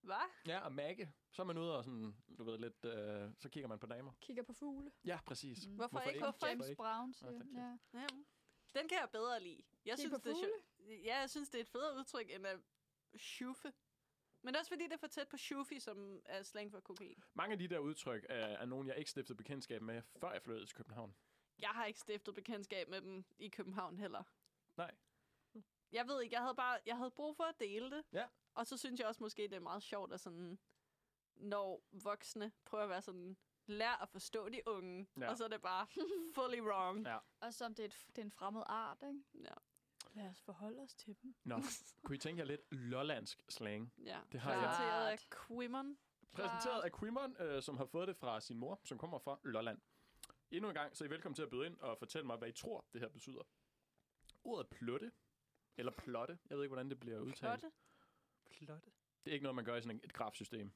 Speaker 3: Hvad?
Speaker 6: Ja, og mække. Så er man ude og sådan, du ved lidt, øh, så kigger man på damer.
Speaker 4: Kigger på fugle.
Speaker 6: Ja, præcis.
Speaker 4: Mm.
Speaker 3: Hvorfor,
Speaker 6: Hvorfor
Speaker 3: ikke?
Speaker 6: ikke?
Speaker 3: Hvorfor ikke?
Speaker 4: James
Speaker 6: ikke?
Speaker 4: Brown siger.
Speaker 6: tak, tak.
Speaker 4: ja.
Speaker 3: Ja. Den kan jeg bedre lide. Jeg
Speaker 4: Kigge
Speaker 3: synes,
Speaker 4: på
Speaker 3: det er sjovt. Ja, jeg synes, det er et federe udtryk end at sjuffe. Men også fordi det er for tæt på shufi, som er slang for kokain.
Speaker 6: Mange af de der udtryk er, er nogle, jeg ikke stiftede bekendtskab med, før jeg flyttede til København.
Speaker 3: Jeg har ikke stiftet bekendtskab med dem i København heller.
Speaker 6: Nej.
Speaker 3: Jeg ved ikke, jeg havde bare jeg havde brug for at dele det.
Speaker 6: Ja.
Speaker 3: Og så synes jeg også måske, det er meget sjovt at sådan, når voksne prøver at være sådan, lær at forstå de unge, ja.
Speaker 6: Ja.
Speaker 3: og så er det
Speaker 6: [LAUGHS]
Speaker 3: bare fully wrong.
Speaker 6: Ja.
Speaker 4: Og som det er, et, f- det er en fremmed art, ikke?
Speaker 3: Ja.
Speaker 4: Lad os forholde os til dem.
Speaker 3: [LAUGHS]
Speaker 6: Nå, kunne I tænke jer lidt lollandsk slang?
Speaker 3: ja.
Speaker 6: Det har
Speaker 4: jeg.
Speaker 3: Præsenteret af
Speaker 4: Klart.
Speaker 3: Quimmon.
Speaker 6: Præsenteret af Quimon, øh, som har fået det fra sin mor, som kommer fra Lolland. Endnu en gang, så er I velkommen til at byde ind og fortælle mig, hvad I tror, det her betyder. Ordet plutte, eller plotte, jeg ved ikke, hvordan det bliver udtalt.
Speaker 3: Flotte.
Speaker 7: Plotte.
Speaker 6: Det er ikke noget, man gør i sådan et grafsystem.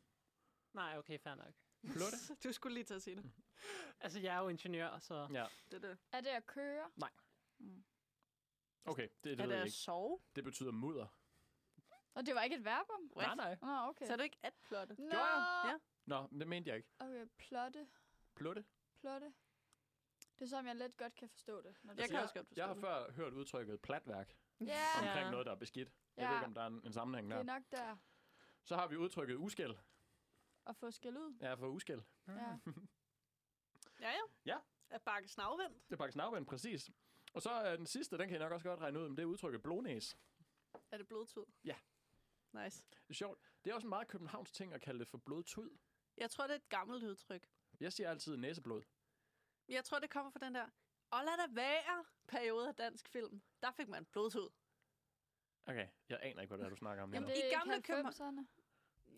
Speaker 7: Nej, okay, fair nok.
Speaker 6: Plutte?
Speaker 3: [LAUGHS] Du skulle lige til at sige det.
Speaker 7: Altså, jeg er jo ingeniør, så...
Speaker 6: Ja,
Speaker 3: Det er det.
Speaker 4: Er det at køre?
Speaker 6: okay, det, det
Speaker 3: er
Speaker 6: ved
Speaker 3: det
Speaker 6: jeg
Speaker 3: at
Speaker 6: ikke.
Speaker 3: sove?
Speaker 6: Det betyder mudder.
Speaker 4: Og det var ikke et verbum?
Speaker 6: Nej, nej.
Speaker 4: Nå, okay.
Speaker 3: Så er du ikke at plotte?
Speaker 4: Nå!
Speaker 6: Gjorde
Speaker 3: Ja.
Speaker 6: Nå, men det mente jeg ikke.
Speaker 4: Okay, plotte,
Speaker 6: Plutte?
Speaker 4: plotte. Det er som, jeg let godt kan forstå det. Når du
Speaker 3: Altså, Jeg
Speaker 4: siger
Speaker 3: kan
Speaker 4: det.
Speaker 3: også godt forstå
Speaker 6: Jeg har
Speaker 3: det.
Speaker 6: før hørt udtrykket platværk
Speaker 4: Ja,
Speaker 6: omkring noget, der er beskidt. Jeg ved
Speaker 4: Ja.
Speaker 6: ikke, om der er en, en sammenhæng
Speaker 4: det er
Speaker 6: der.
Speaker 4: nok der.
Speaker 6: Så har vi udtrykket uskæld.
Speaker 4: At få skæld ud.
Speaker 6: Ja, for uskæld.
Speaker 4: Ja.
Speaker 3: Ja, ja.
Speaker 6: Ja.
Speaker 3: At bakke snavvendt.
Speaker 6: [LAUGHS] Det er faktisk navvendt, præcis. Og så øh, den sidste, den kan I nok også godt regne ud, men det er udtrykket blånæs.
Speaker 3: Er det blodtud?
Speaker 6: Ja.
Speaker 3: Nice.
Speaker 6: Det er sjovt. Det er også en meget københavns ting at kalde det for blodtud.
Speaker 3: Jeg tror, det er et gammelt udtryk.
Speaker 6: Jeg siger altid næseblod.
Speaker 3: Jeg tror, det kommer fra den der og lad det være periode af dansk film. Der fik man blodtud.
Speaker 6: Okay, jeg aner ikke, hvad det er, du snakker om.
Speaker 4: Jamen,
Speaker 6: det...
Speaker 4: det er
Speaker 3: I
Speaker 4: ikke
Speaker 3: gamle København-
Speaker 4: 90'erne.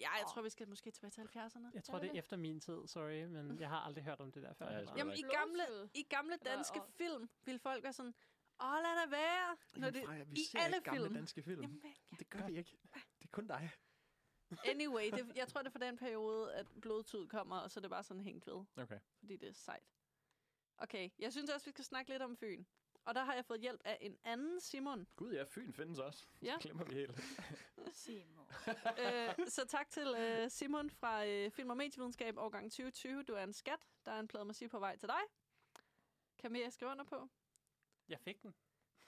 Speaker 3: Ja, jeg tror, vi skal måske tilbage til 70'erne.
Speaker 7: Jeg tror,
Speaker 4: Er det
Speaker 7: det er efter min tid, sorry, men jeg har aldrig hørt om det der før.
Speaker 6: Ja, jeg
Speaker 7: heller.
Speaker 6: tror-
Speaker 3: Jamen, i
Speaker 4: ikke.
Speaker 3: gamle,
Speaker 4: Blodtud.
Speaker 3: i gamle
Speaker 4: Eller
Speaker 3: danske
Speaker 4: og-
Speaker 3: film ville folk være sådan, åh, lad det være. Når det,
Speaker 6: vi
Speaker 3: i alle film.
Speaker 6: danske film.
Speaker 3: Jamen, hvad-
Speaker 6: Det gør vi ikke. Det er kun dig.
Speaker 3: anyway, det, jeg tror, det er fra den periode, at blodtud kommer, og så er det bare sådan hængt ved.
Speaker 6: Okay.
Speaker 3: fordi det er sejt. Okay, jeg synes også, vi skal snakke lidt om Fyn. Og der har jeg fået hjælp af en anden Simon.
Speaker 6: Gud ja, Fyn findes også.
Speaker 3: Ja.
Speaker 6: Ja. Det glemmer vi helt.
Speaker 4: Simon.
Speaker 3: [LAUGHS] øh, så tak til øh, Simon fra øh, Film og Medievidenskab, årgang 2020. Du er en skat. Der er en plade musik på vej til dig. Camilla skriver under på.
Speaker 7: Jeg fik den.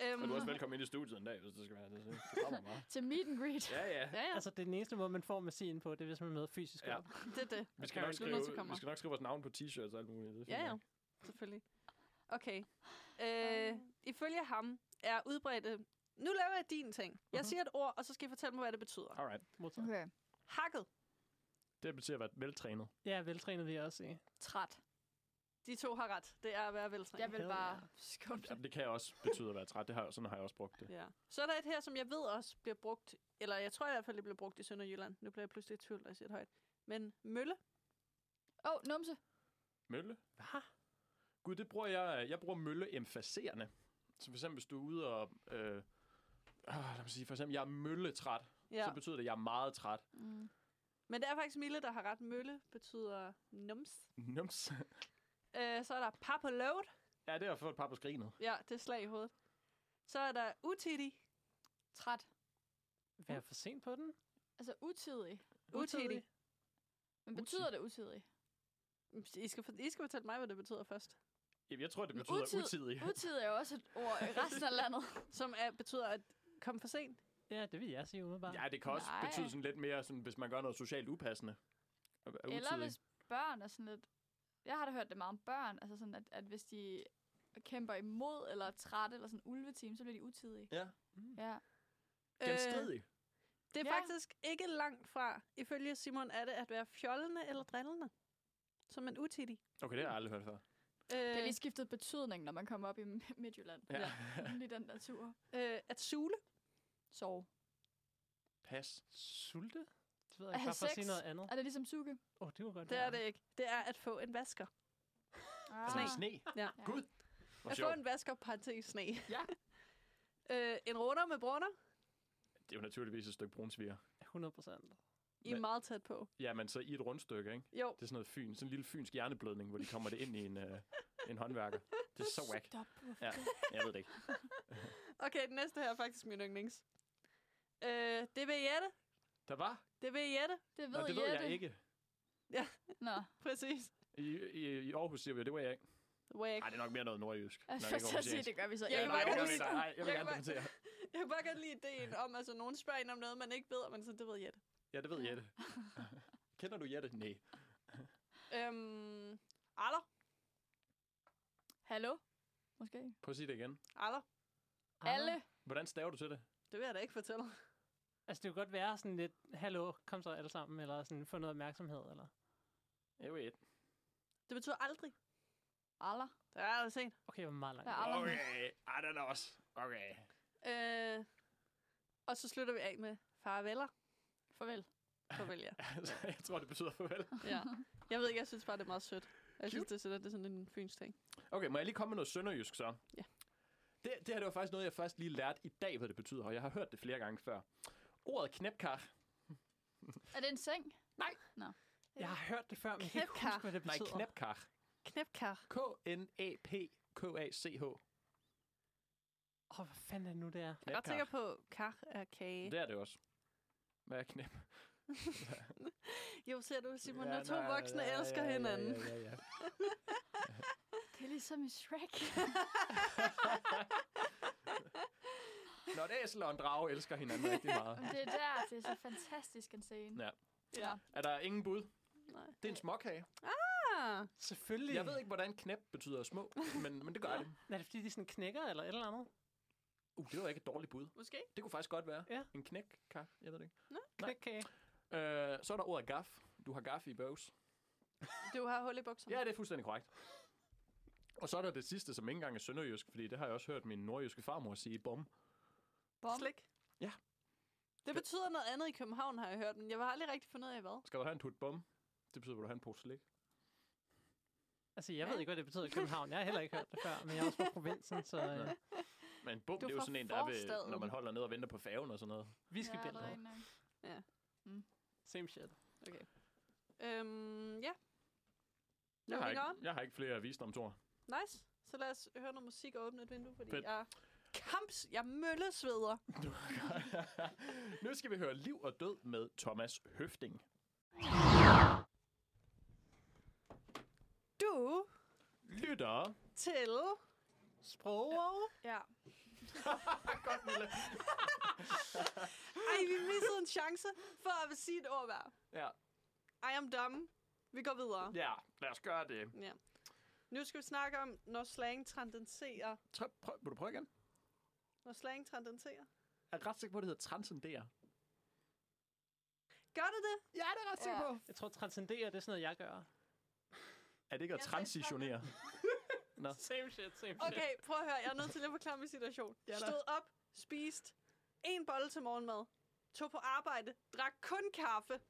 Speaker 3: Øhm,
Speaker 6: Og du er også velkommen ind i studiet en dag, hvis det skal være det. Det kommer meget.
Speaker 4: Til meet and greet.
Speaker 6: Ja, ja.
Speaker 3: ja, ja,
Speaker 7: Altså, det er den eneste måde, man får medicin på, det er, hvis man er med fysisk
Speaker 6: Ja.
Speaker 7: op.
Speaker 3: det er det.
Speaker 6: Vi skal,
Speaker 3: Karen,
Speaker 6: nok
Speaker 3: du er nødt til at
Speaker 6: skrive,
Speaker 3: komme.
Speaker 6: vi skal nok skrive vores navn på t-shirts og alt muligt. Det er fint
Speaker 3: Ja, ja,
Speaker 6: nok.
Speaker 3: selvfølgelig. Okay. Øh,
Speaker 4: Øhm.
Speaker 3: ifølge ham er udbredte... Nu laver jeg din ting.
Speaker 6: Mhm.
Speaker 3: Jeg siger et ord, og så skal I fortælle mig, hvad det betyder.
Speaker 6: Alright.
Speaker 7: Modtaget.
Speaker 4: Okay.
Speaker 3: Hakket.
Speaker 6: Det betyder at være veltrænet.
Speaker 7: Ja, veltrænet vil jeg også sige.
Speaker 4: Træt.
Speaker 3: De to har ret. Det er at være veltrænet.
Speaker 4: Jeg vil
Speaker 7: Hell
Speaker 4: bare
Speaker 7: yeah.
Speaker 4: skubbe
Speaker 6: Ja, det kan også betyde at være træt. Det har, jeg- sådan har jeg også brugt det.
Speaker 3: Ja. Så er der et her, som jeg ved også bliver brugt, eller jeg tror i hvert fald, det bliver brugt i Sønderjylland. Nu bliver jeg pludselig i tvivl, når jeg siger det højt. Men mølle.
Speaker 4: Åh, oh, numse.
Speaker 6: Mølle? Hvad? Gud, det bruger jeg. Jeg bruger mølle emfaserende. Så for eksempel, hvis du er ude og... Øh, øh, lad mig sige, for eksempel, jeg er mølletræt. Ja.
Speaker 3: Ja.
Speaker 6: Så betyder det, at jeg er meget træt.
Speaker 4: Mm.
Speaker 3: Men det er faktisk Mille, der har ret. Mølle betyder nums.
Speaker 6: Nums.
Speaker 3: Øh, så er der pap og load.
Speaker 6: [LAUGHS] ja, det har fået et par på skrinet.
Speaker 3: Ja, det er slag i hovedet. Så er der utidig.
Speaker 4: Træt.
Speaker 7: Var jeg for sent på den?
Speaker 4: Altså utidig.
Speaker 3: Utidig.
Speaker 4: Men betyder det utidig?
Speaker 3: I skal, for- I skal fortælle mig, hvad det betyder først.
Speaker 6: Jamen, jeg tror, det
Speaker 4: Men
Speaker 6: betyder
Speaker 4: utid-
Speaker 6: utid. utidig.
Speaker 4: Utidig er jo også et ord i resten af landet.
Speaker 3: Som er, betyder at komme for sent.
Speaker 7: Ja, det vil jeg sige umiddelbart.
Speaker 6: Ja, det kan også
Speaker 4: Nej.
Speaker 6: Nej. betyde sådan lidt mere, sådan, hvis man gør noget socialt upassende. Er- er
Speaker 4: Eller
Speaker 6: utidig.
Speaker 4: hvis børn er sådan lidt... Jeg har da hørt det meget om børn, altså sådan, at, at hvis de kæmper imod, eller er trætte, eller sådan en ulveteam, så bliver de utidige.
Speaker 6: Ja.
Speaker 4: Ja.
Speaker 3: øh,
Speaker 6: Genstridig.
Speaker 3: det er
Speaker 4: Ja.
Speaker 3: ja. faktisk ikke langt fra. Ifølge Simon er det at være fjollende eller drillende. Som en utidig.
Speaker 6: Okay, det har jeg aldrig hørt før.
Speaker 4: Det har
Speaker 3: Øh,
Speaker 4: lige skiftet betydning, når man kommer op i M- Midtjylland.
Speaker 6: Ja. ja. [LAUGHS]
Speaker 4: Lige den der tur.
Speaker 3: øh, at sule.
Speaker 4: Sove.
Speaker 6: Pas.
Speaker 7: Sulte? Det ved jeg
Speaker 4: At
Speaker 7: ikke,
Speaker 4: have
Speaker 7: bare for at sige
Speaker 4: sex.
Speaker 7: noget andet.
Speaker 4: Er det ligesom suge?
Speaker 7: Åh, oh, det var godt.
Speaker 3: Det
Speaker 7: være.
Speaker 3: er det ikke. Det er at få en vasker.
Speaker 4: Ah.
Speaker 6: Sne. Sne.
Speaker 3: Ja.
Speaker 6: Gud. Hvor
Speaker 3: At få
Speaker 6: sjovt.
Speaker 3: en vasker, parentes, sne.
Speaker 6: Ja.
Speaker 3: [LAUGHS] Øh, en runder med brunner.
Speaker 6: Det er jo naturligvis et stykke brunsviger.
Speaker 7: 100 procent.
Speaker 3: I er
Speaker 6: Men-
Speaker 3: meget tæt på.
Speaker 6: Ja, men så i et rundstykke, ikke?
Speaker 3: Jo.
Speaker 6: Det er sådan noget fyn, sådan en lille fynsk hjerneblødning, hvor de kommer det ind i en, øh, en håndværker. Det er så whack.
Speaker 4: Stop. hvorfor
Speaker 6: Ja.
Speaker 4: det?
Speaker 6: Jeg ved det ikke.
Speaker 3: [LAUGHS] Okay, den næste her er faktisk min yndlings. Øh, det vil Jette.
Speaker 6: Der var?
Speaker 3: Det vil Jette.
Speaker 4: Det ved,
Speaker 6: Nå, det ved
Speaker 4: Jette.
Speaker 6: jeg ikke.
Speaker 4: Nå,
Speaker 3: Præcis.
Speaker 6: I, i, i Aarhus siger vi, jo, det var jeg ikke.
Speaker 3: Whack.
Speaker 6: Nej, det er nok mere noget nordjysk.
Speaker 4: jeg
Speaker 6: Nok
Speaker 4: skulle
Speaker 6: ikke
Speaker 4: så sige,
Speaker 6: aarhusiansk.
Speaker 4: det gør vi så.
Speaker 3: Jeg
Speaker 6: Ja,
Speaker 3: kan
Speaker 6: nej,
Speaker 3: bare
Speaker 6: det gør
Speaker 3: huske-
Speaker 6: vi ikke. Nej, jeg vil
Speaker 3: jeg
Speaker 6: gerne
Speaker 3: kan bare-
Speaker 6: debattere.
Speaker 3: Jeg kan bare godt lide ideen om, altså nogen spørger en om noget, man ikke ved, og man så det ved Jette.
Speaker 6: Ja, det ved Jette. [LAUGHS] Kender du Jette? Nej.
Speaker 3: Øhm, Aller.
Speaker 4: Hallo? Måske.
Speaker 6: Prøv at sige det igen.
Speaker 3: Aller.
Speaker 4: Alle.
Speaker 6: Hvordan staver du til det?
Speaker 3: Det vil jeg da ikke fortælle.
Speaker 7: Altså, det kunne godt være sådan lidt, hallo, kom så alle sammen, eller sådan, få noget opmærksomhed, eller...
Speaker 6: Jeg ved ikke.
Speaker 3: Det betyder aldrig.
Speaker 4: Aller.
Speaker 3: Det er aldrig sent.
Speaker 7: Okay, jeg var meget langt.
Speaker 4: Der er aller.
Speaker 6: Okay, ej, den er også. Okay. [LAUGHS]
Speaker 3: Øh, og så slutter vi af med farveler.
Speaker 4: Farvel.
Speaker 3: Farvel, ja.
Speaker 6: Altså, jeg tror, det betyder farvel.
Speaker 3: ja. Jeg ved ikke, jeg synes bare, det er meget sødt. Jeg synes, det er, sådan, det er sådan en fyns ting.
Speaker 6: Okay, må jeg lige komme med noget sønderjysk så?
Speaker 3: Ja.
Speaker 6: Det, det her det var faktisk noget, jeg først lige lærte i dag, hvad det betyder, og jeg har hørt det flere gange før. Ordet knæpkar.
Speaker 4: Er det en seng?
Speaker 7: Jeg har hørt det før, men jeg kan ikke
Speaker 3: Knæpkar.
Speaker 7: huske, hvad det
Speaker 6: Nej,
Speaker 7: betyder.
Speaker 6: knæpkar.
Speaker 3: Knæpkar.
Speaker 6: K-N-A-P-K-A-C-H.
Speaker 7: Åh, oh, hvad fanden er det nu, det er?
Speaker 3: Jeg er ret
Speaker 6: Knæpkar.
Speaker 3: sikker på, kar er kage.
Speaker 6: Det er det også. Hvad er knæp?
Speaker 3: [LAUGHS] Jo, ser du, Simon, når to voksne elsker hinanden. [LAUGHS]
Speaker 6: Ja, ja, ja, ja.
Speaker 4: Det er ligesom i Shrek.
Speaker 6: Når et æsel og en drage elsker hinanden rigtig meget.
Speaker 3: [LAUGHS]
Speaker 4: Men det er der, det er så fantastisk en scene.
Speaker 6: Ja.
Speaker 4: ja.
Speaker 6: Er der ingen bud?
Speaker 3: Nej.
Speaker 6: Det er en småkage.
Speaker 3: Ah,
Speaker 7: Selvfølgelig.
Speaker 6: Jeg ved ikke, hvordan knæp betyder små, men, men det gør det.
Speaker 7: Er det, fordi de sådan knækker, eller et eller andet?
Speaker 6: Uh, det var ikke et dårligt bud.
Speaker 3: måske.
Speaker 6: Det kunne faktisk godt være.
Speaker 7: Ja.
Speaker 6: En knækkar, jeg ved det ikke. Nej.
Speaker 7: Knækkage.
Speaker 6: Øh, så er der ordet gaf. Du har gaf i bøvs.
Speaker 3: Du har hul i bukserne.
Speaker 6: Ja, det er fuldstændig korrekt. Og så er der det sidste, som ikke engang er sønderjysk, fordi det har jeg også hørt min nordjyske farmor sige, bom.
Speaker 4: Bom.
Speaker 3: Slik.
Speaker 6: Ja.
Speaker 3: Det betyder noget andet i København, har jeg hørt, men jeg har aldrig rigtig fundet ud af, hvad.
Speaker 6: Skal du have en tut bom? Det betyder, at du har en pose slik.
Speaker 7: Altså, jeg ved ikke, hvad det betyder i København. Jeg har heller ikke hørt det før, men jeg er også fra provinsen, så øh,
Speaker 6: Men en bum,
Speaker 3: Du
Speaker 6: det er
Speaker 3: er
Speaker 6: jo
Speaker 3: fra
Speaker 6: sådan en, der er ved,
Speaker 3: forstaden.
Speaker 6: når man holder ned og venter på færgen og sådan noget.
Speaker 7: vi skal
Speaker 4: ja,
Speaker 7: ja,
Speaker 4: det er rigtig nok.
Speaker 7: Same shit.
Speaker 3: Øhm, ja.
Speaker 6: Jeg har,
Speaker 3: Moving
Speaker 6: ikke,
Speaker 3: on.
Speaker 6: jeg har ikke flere visdomsord.
Speaker 3: Nice. Så lad os høre noget musik og åbne et vindue, fordi
Speaker 6: Fedt.
Speaker 3: Fedt. jeg er kamps, jeg er møllesveder.
Speaker 6: nu skal vi høre Liv og Død med Thomas Høfting.
Speaker 3: Du
Speaker 6: Lytter.
Speaker 3: til...
Speaker 6: [LAUGHS]
Speaker 7: Sprog.
Speaker 4: Ja.
Speaker 6: Godt, Mille.
Speaker 3: Ej, vi missede en chance for at sige et ord hver.
Speaker 6: Ja.
Speaker 3: I am dumb. Vi går videre.
Speaker 6: ja, lad os gøre det.
Speaker 3: Ja. Nu skal vi snakke om, når slang transcenderer.
Speaker 6: Prøv, prøv, vil du prøve igen?
Speaker 3: Når slang transcenderer.
Speaker 6: Jeg er ret sikker på, at det hedder transcendere.
Speaker 3: Gør det det?
Speaker 6: Ja, det er ret
Speaker 4: sikker Ja.
Speaker 6: på.
Speaker 7: Jeg tror, transcendere, det er sådan noget, jeg gør.
Speaker 6: Er det ikke at
Speaker 3: Jeg sagde
Speaker 6: transitionere?
Speaker 7: Same shit, same shit.
Speaker 3: Okay, prøv at høre. Jeg er nødt til lige at forklare min situation.
Speaker 6: Ja, da.
Speaker 3: Stod op, spiste en bolle til morgenmad, tog på arbejde, drak kun kaffe,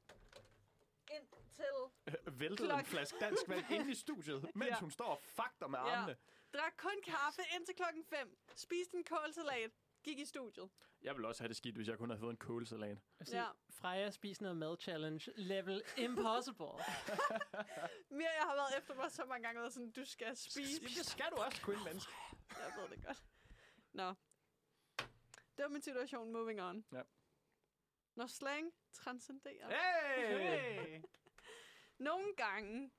Speaker 3: indtil
Speaker 6: Øh, Væltede
Speaker 3: Klok-
Speaker 6: en flaske dansk vand ind i studiet, mens
Speaker 3: Ja.
Speaker 6: hun står og fakter med
Speaker 3: Ja.
Speaker 6: armene.
Speaker 3: drak kun kaffe indtil klokken 5, spiste en kålsalat, gik i studiet.
Speaker 6: Jeg ville også have det skidt, hvis jeg kun havde fået en kålsalat.
Speaker 7: Ja.
Speaker 3: Ja.
Speaker 7: Freja spiser noget mad challenge. Level impossible.
Speaker 3: Mia, jeg har været efter mig så mange gange, og været sådan, du skal spise.
Speaker 6: Jamen, det skal du også, kun menneske.
Speaker 3: Jeg ved det godt. Nå. Det var min situation. Moving on.
Speaker 6: Ja.
Speaker 3: Når slang transcenderer.
Speaker 6: Hey!
Speaker 3: Nogle gange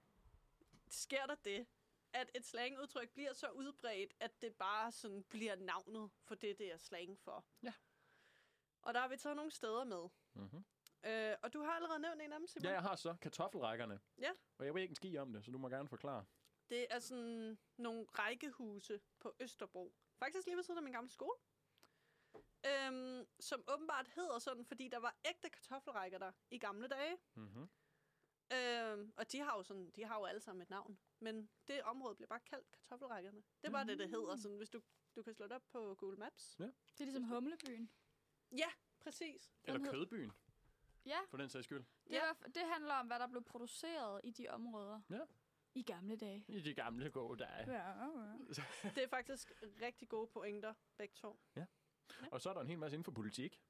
Speaker 3: sker der det, at et slangudtryk bliver så udbredt, at det bare sådan bliver navnet for det, det er slang for.
Speaker 6: Ja.
Speaker 3: Og der har vi taget nogle steder med.
Speaker 6: Mhm.
Speaker 3: Øh, og du har allerede nævnt en af dem, Simon.
Speaker 6: Ja, jeg har så kartoffelrækkerne.
Speaker 3: Ja.
Speaker 6: Og jeg ved ikke en ski om det, så du må gerne forklare.
Speaker 3: Det er sådan nogle rækkehuse på Østerbro. Faktisk lige ved siden af min gamle skole. Øhm, som åbenbart hedder sådan, fordi der var ægte kartoffelrækker der i gamle dage.
Speaker 6: Mm-hmm.
Speaker 3: Øhm, og de har, jo sådan, de har jo alle sammen et navn. Men det område bliver bare kaldt kartoffelrækkerne. Det er bare det, det
Speaker 6: Mm.
Speaker 3: hedder. Sådan, hvis du, du kan slå det op på Google Maps.
Speaker 4: Det er ligesom Humlebyen.
Speaker 3: Præcis.
Speaker 6: Eller
Speaker 4: hed-
Speaker 6: kødbyen,
Speaker 4: Ja,
Speaker 6: for den sags skyld.
Speaker 4: det,
Speaker 3: Ja.
Speaker 4: ja. Var, det handler om, hvad der blev produceret i de områder.
Speaker 6: Ja.
Speaker 4: I gamle dage.
Speaker 6: I de [LAUGHS] gamle gode dage.
Speaker 4: Ja, ja.
Speaker 3: Det er faktisk rigtig gode pointer, begge to.
Speaker 6: Ja. Og så er der en hel masse inden for politik.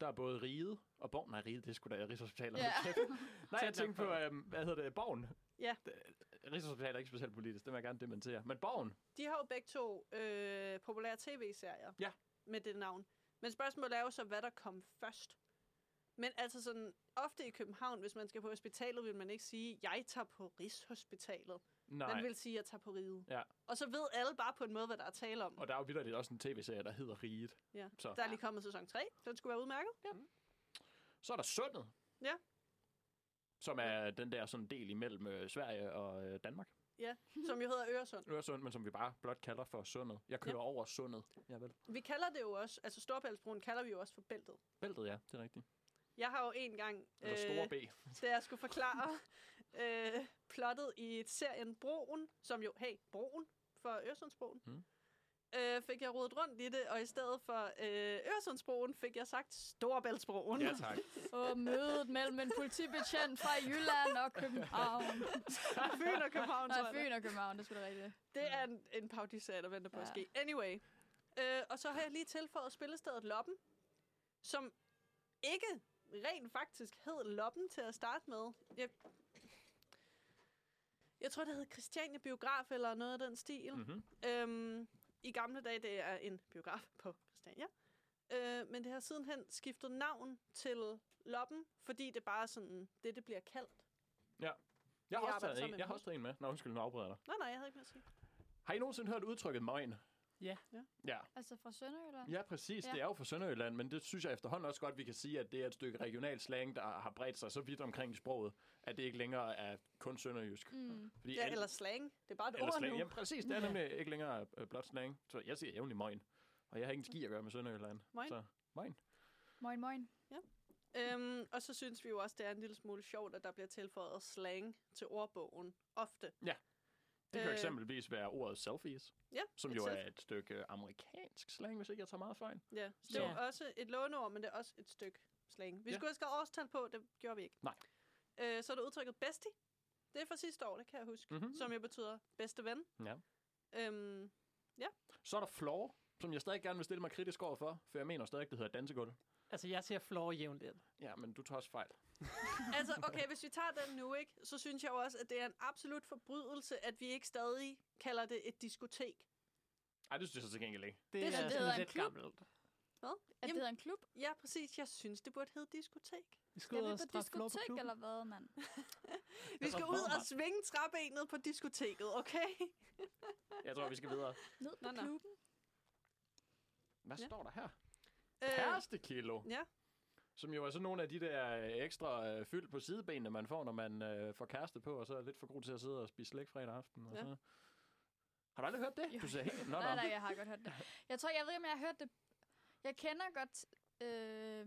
Speaker 6: Der er både riget og borgen. Nej, riget, det skulle da Rigshospitalet.
Speaker 4: Ja.
Speaker 6: Yeah. [LAUGHS] Nej, jeg
Speaker 7: Tæt nok
Speaker 6: tænkte på, øhm, hvad hedder det, borgen.
Speaker 3: Ja.
Speaker 6: D- Rigshospitalet er ikke specielt politisk, det vil jeg gerne dementere. Men borgen,
Speaker 3: De har jo begge to øh, populære tv-serier.
Speaker 6: Ja.
Speaker 3: Med det navn. Men spørgsmålet er jo så, hvad der kom først. Men altså sådan, ofte i København, hvis man skal på hospitalet, vil man ikke sige, jeg tager på Rigshospitalet.
Speaker 6: nej.
Speaker 3: Man vil sige, jeg tager på riget.
Speaker 6: Ja.
Speaker 3: Og så ved alle bare på en måde, hvad der er tale om.
Speaker 6: Og der er jo vidderligt også en tv-serie, der hedder Riget.
Speaker 3: Ja.
Speaker 6: Så.
Speaker 3: Der er lige kommet sæson 3. Den skulle være udmærket.
Speaker 6: Så er der Sundet.
Speaker 3: Ja.
Speaker 6: Som er den der sådan del imellem øh, Sverige og øh, Danmark.
Speaker 3: [LAUGHS] Som jo hedder Øresund.
Speaker 6: Øresund, men som vi bare blot kalder for Sundet. Jeg kører ja. over Sundet. Ja, vel.
Speaker 3: Vi kalder det jo også, altså Storbæltsbroen kalder vi jo også for bæltet.
Speaker 6: Bæltet, ja, det er rigtigt.
Speaker 3: Jeg har jo en gang, øh,
Speaker 6: Eller store B.
Speaker 3: da jeg skulle forklare [LAUGHS] øh, plottet i serien Broen, som jo, hey, Broen for Øresundsbroen,
Speaker 6: Mm.
Speaker 3: mm. øh, fik jeg rodet rundt i det, og i stedet for øh, Øresundsbroen fik jeg sagt Storbæltsbroen. [LAUGHS]
Speaker 6: Ja, tak.
Speaker 4: Og mødet mellem en politibetjent fra Jylland
Speaker 6: [LAUGHS]
Speaker 4: og København.
Speaker 3: Fyn og København, tror
Speaker 4: Nej,
Speaker 3: jeg.
Speaker 4: Fyn og København, det skulle da rigtigt.
Speaker 3: Det
Speaker 6: Mm.
Speaker 3: er en, en paudiserie, der venter på at
Speaker 4: Ja.
Speaker 3: ske. Anyway. Øh, og så har jeg lige tilføjet spillestedet Loppen, som ikke rent faktisk hed Loppen til at starte med. Jeg, jeg tror, det hed Christiania Biograf eller noget af den stil.
Speaker 6: Mm-hmm.
Speaker 3: Øhm, I gamle dage, det er en biograf på Christiania. Øh, men det har sidenhen skiftet navn til Loppen, fordi det bare er sådan, det det bliver kaldt.
Speaker 6: Jeg har,
Speaker 3: Vi
Speaker 6: også
Speaker 3: arbejder
Speaker 6: taget
Speaker 3: sammen
Speaker 6: en, jeg har
Speaker 3: med
Speaker 6: også taget en med. Nå, undskyld, nu afbryder jeg dig.
Speaker 3: Nej, nej, jeg havde ikke mere at sige.
Speaker 6: Har I nogensinde hørt udtrykket møgen?
Speaker 7: Ja.
Speaker 3: Ja.
Speaker 6: Ja,
Speaker 4: Altså fra Sønderjylland?
Speaker 6: ja præcis. Ja.
Speaker 4: Ja.
Speaker 6: Det er jo fra Sønderjylland, men det synes jeg efterhånden også godt, vi kan sige, at det er et stykke regional slang, der har bredt sig så vidt omkring i sproget, at det ikke længere er kun sønderjysk.
Speaker 4: Mm.
Speaker 6: Fordi
Speaker 3: Ja,
Speaker 6: alle-
Speaker 3: eller slang. Det er bare et
Speaker 6: eller
Speaker 3: ord
Speaker 6: slang.
Speaker 3: nu.
Speaker 6: Jamen, præcis, det er nemlig ikke længere øh, blot slang. Så jeg siger jævnlig møgen. Og jeg har ikke en ski at gøre med Sønderjylland.
Speaker 3: Møgen.
Speaker 6: Så møgen.
Speaker 4: Moin, moin.
Speaker 3: Øhm, og så synes vi jo også, det er en lille smule sjovt, at der bliver tilføjet slang til ordbogen ofte.
Speaker 6: Det kan
Speaker 3: Øh.
Speaker 6: øh. eksempelvis være ordet selfies,
Speaker 3: Ja,
Speaker 6: som
Speaker 3: et
Speaker 6: jo
Speaker 3: self-
Speaker 6: er et stykke øh, amerikansk slang, hvis ikke jeg tager meget fejl.
Speaker 3: Ja, så det er
Speaker 7: Ja.
Speaker 3: jo også et låneord, men det er også et stykke slang. Vi
Speaker 6: Ja.
Speaker 3: skulle huske årstal på, det gjorde vi ikke.
Speaker 6: Nej.
Speaker 3: Øh, så er der udtrykket bestie. Det er fra sidste år, det kan jeg huske,
Speaker 6: Mhm.
Speaker 3: mm-hmm. som jo betyder bedste ven.
Speaker 6: Ja.
Speaker 3: Øhm,
Speaker 6: Så er der floor, som jeg stadig gerne vil stille mig kritisk over for, for jeg mener stadig, det hedder dansegulv.
Speaker 7: Altså, jeg ser floor jævnligt.
Speaker 6: Ja, men du tager også fejl.
Speaker 3: altså, okay, hvis vi tager den nu, ikke, så synes jeg jo også, at det er en absolut forbrydelse, at vi ikke stadig kalder det et diskotek.
Speaker 6: Ej, det synes jeg så til gengæld ikke.
Speaker 7: Det,
Speaker 4: er sådan, det hedder en klub.
Speaker 7: gammelt.
Speaker 4: Er det
Speaker 3: Jamen-
Speaker 4: hedder en klub?
Speaker 3: Ja, præcis. Jeg synes, det burde hedde diskotek.
Speaker 7: Vi skal
Speaker 4: Skal
Speaker 7: ud
Speaker 4: vi
Speaker 7: og
Speaker 4: på
Speaker 7: straffe floor på
Speaker 4: diskotek,
Speaker 7: klubben.
Speaker 4: eller hvad, mand?
Speaker 3: Vi skal ud og
Speaker 7: Hvorfor?
Speaker 3: svinge træbenet på diskoteket, okay?
Speaker 6: Jeg tror, vi skal videre.
Speaker 4: Ned
Speaker 3: Nå,
Speaker 4: på
Speaker 3: nå.
Speaker 4: klubben?
Speaker 6: Hvad
Speaker 3: Ja.
Speaker 6: står der her?
Speaker 3: Øh,
Speaker 6: Kærestekilo.
Speaker 3: ja.
Speaker 6: Som jo er sådan nogle af de der øh, ekstra øh, fyld på sidebenene, man får, når man øh, får kæreste på, og så er lidt for god til at sidde og spise slik fredag aften. Og
Speaker 3: Ja.
Speaker 6: så... Har du aldrig hørt det?
Speaker 4: Jo.
Speaker 6: Du ser helt... Nå,
Speaker 4: Nej,
Speaker 6: nå.
Speaker 4: nej, jeg har godt hørt det. Jeg tror, jeg ved, om jeg har hørt det. Jeg kender godt øh,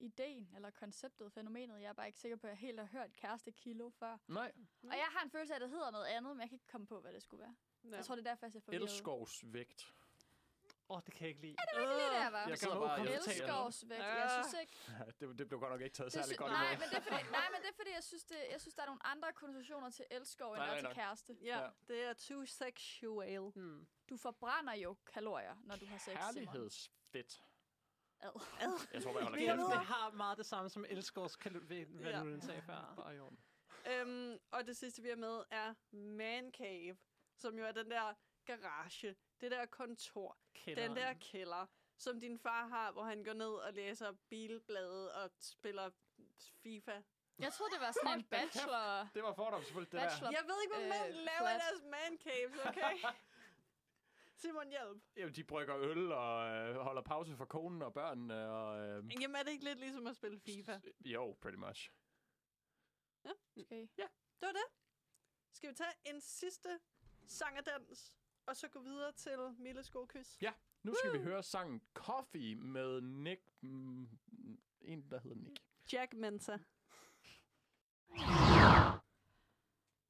Speaker 4: ideen, eller konceptet, fænomenet. Jeg er bare ikke sikker på, at jeg helt har hørt kæreste kilo før.
Speaker 6: Nej,
Speaker 4: Og jeg har en følelse af, at det hedder noget andet, men jeg kan ikke komme på, hvad det skulle være.
Speaker 3: ja.
Speaker 4: Jeg tror, det er derfor, jeg er forvirret.
Speaker 6: elskovsvægt.
Speaker 7: Åh, det kan jeg ikke lide.
Speaker 4: Det var ikke lige det, jeg var.
Speaker 6: Jeg
Speaker 7: sidder
Speaker 6: sidder
Speaker 7: bare
Speaker 6: bare
Speaker 7: og
Speaker 6: og
Speaker 7: irriterer mig.
Speaker 4: Elskovsvægt. Jeg synes ikke,
Speaker 6: det, det blev godt nok ikke taget
Speaker 4: Det
Speaker 6: særlig
Speaker 4: sy-
Speaker 6: godt
Speaker 4: nej,
Speaker 6: imod.
Speaker 4: men det er fordi,
Speaker 6: [LAUGHS]
Speaker 4: nej, men det er fordi, jeg synes, det, jeg synes der er nogle andre konnotationer til elskov, end
Speaker 6: Nej,
Speaker 4: der er
Speaker 6: nej,
Speaker 4: til
Speaker 6: nej.
Speaker 4: kæreste.
Speaker 3: ja,
Speaker 6: Ja.
Speaker 3: det er too sexual.
Speaker 7: Hmm.
Speaker 4: Du forbrænder jo kalorier, når du har sex, Simon.
Speaker 6: Herlighedsfedt.
Speaker 4: Ad.
Speaker 6: Jeg tror, jeg holder
Speaker 3: Vi er
Speaker 6: kæft.
Speaker 3: videre.
Speaker 7: Det har meget det samme som Elskårs kalorien, hvad
Speaker 3: Ja.
Speaker 7: ja. du sagde før.
Speaker 6: Bare i orden.
Speaker 3: Øhm, og det sidste, vi har med, er man cave, som jo er den der garage, det der kontor,
Speaker 7: Kælderen.
Speaker 3: den der kælder, som din far har, hvor han går ned og læser bilblade og spiller FIFA.
Speaker 4: Jeg troede, det var sådan en bachelor...
Speaker 6: Det var fordomsfuldt, det
Speaker 4: Bachelor.
Speaker 6: der.
Speaker 3: Jeg ved ikke, hvad mænd
Speaker 4: Øh,
Speaker 3: laver i
Speaker 4: flat.
Speaker 3: deres man caves, okay? Simon, hjælp.
Speaker 6: Jamen, de brygger øl og øh, holder pause for konen og børnene. Og, øh,
Speaker 3: Jamen, er det ikke lidt ligesom at spille FIFA?
Speaker 6: Jo, pretty much.
Speaker 4: Okay.
Speaker 3: Det var det. Skal vi tage en sidste sang og dans, og så gå videre til Milles gode kys?
Speaker 6: Nu skal vi høre sangen Coffee med Nick... Mm, en, der hedder Nick.
Speaker 3: Jack Mensa.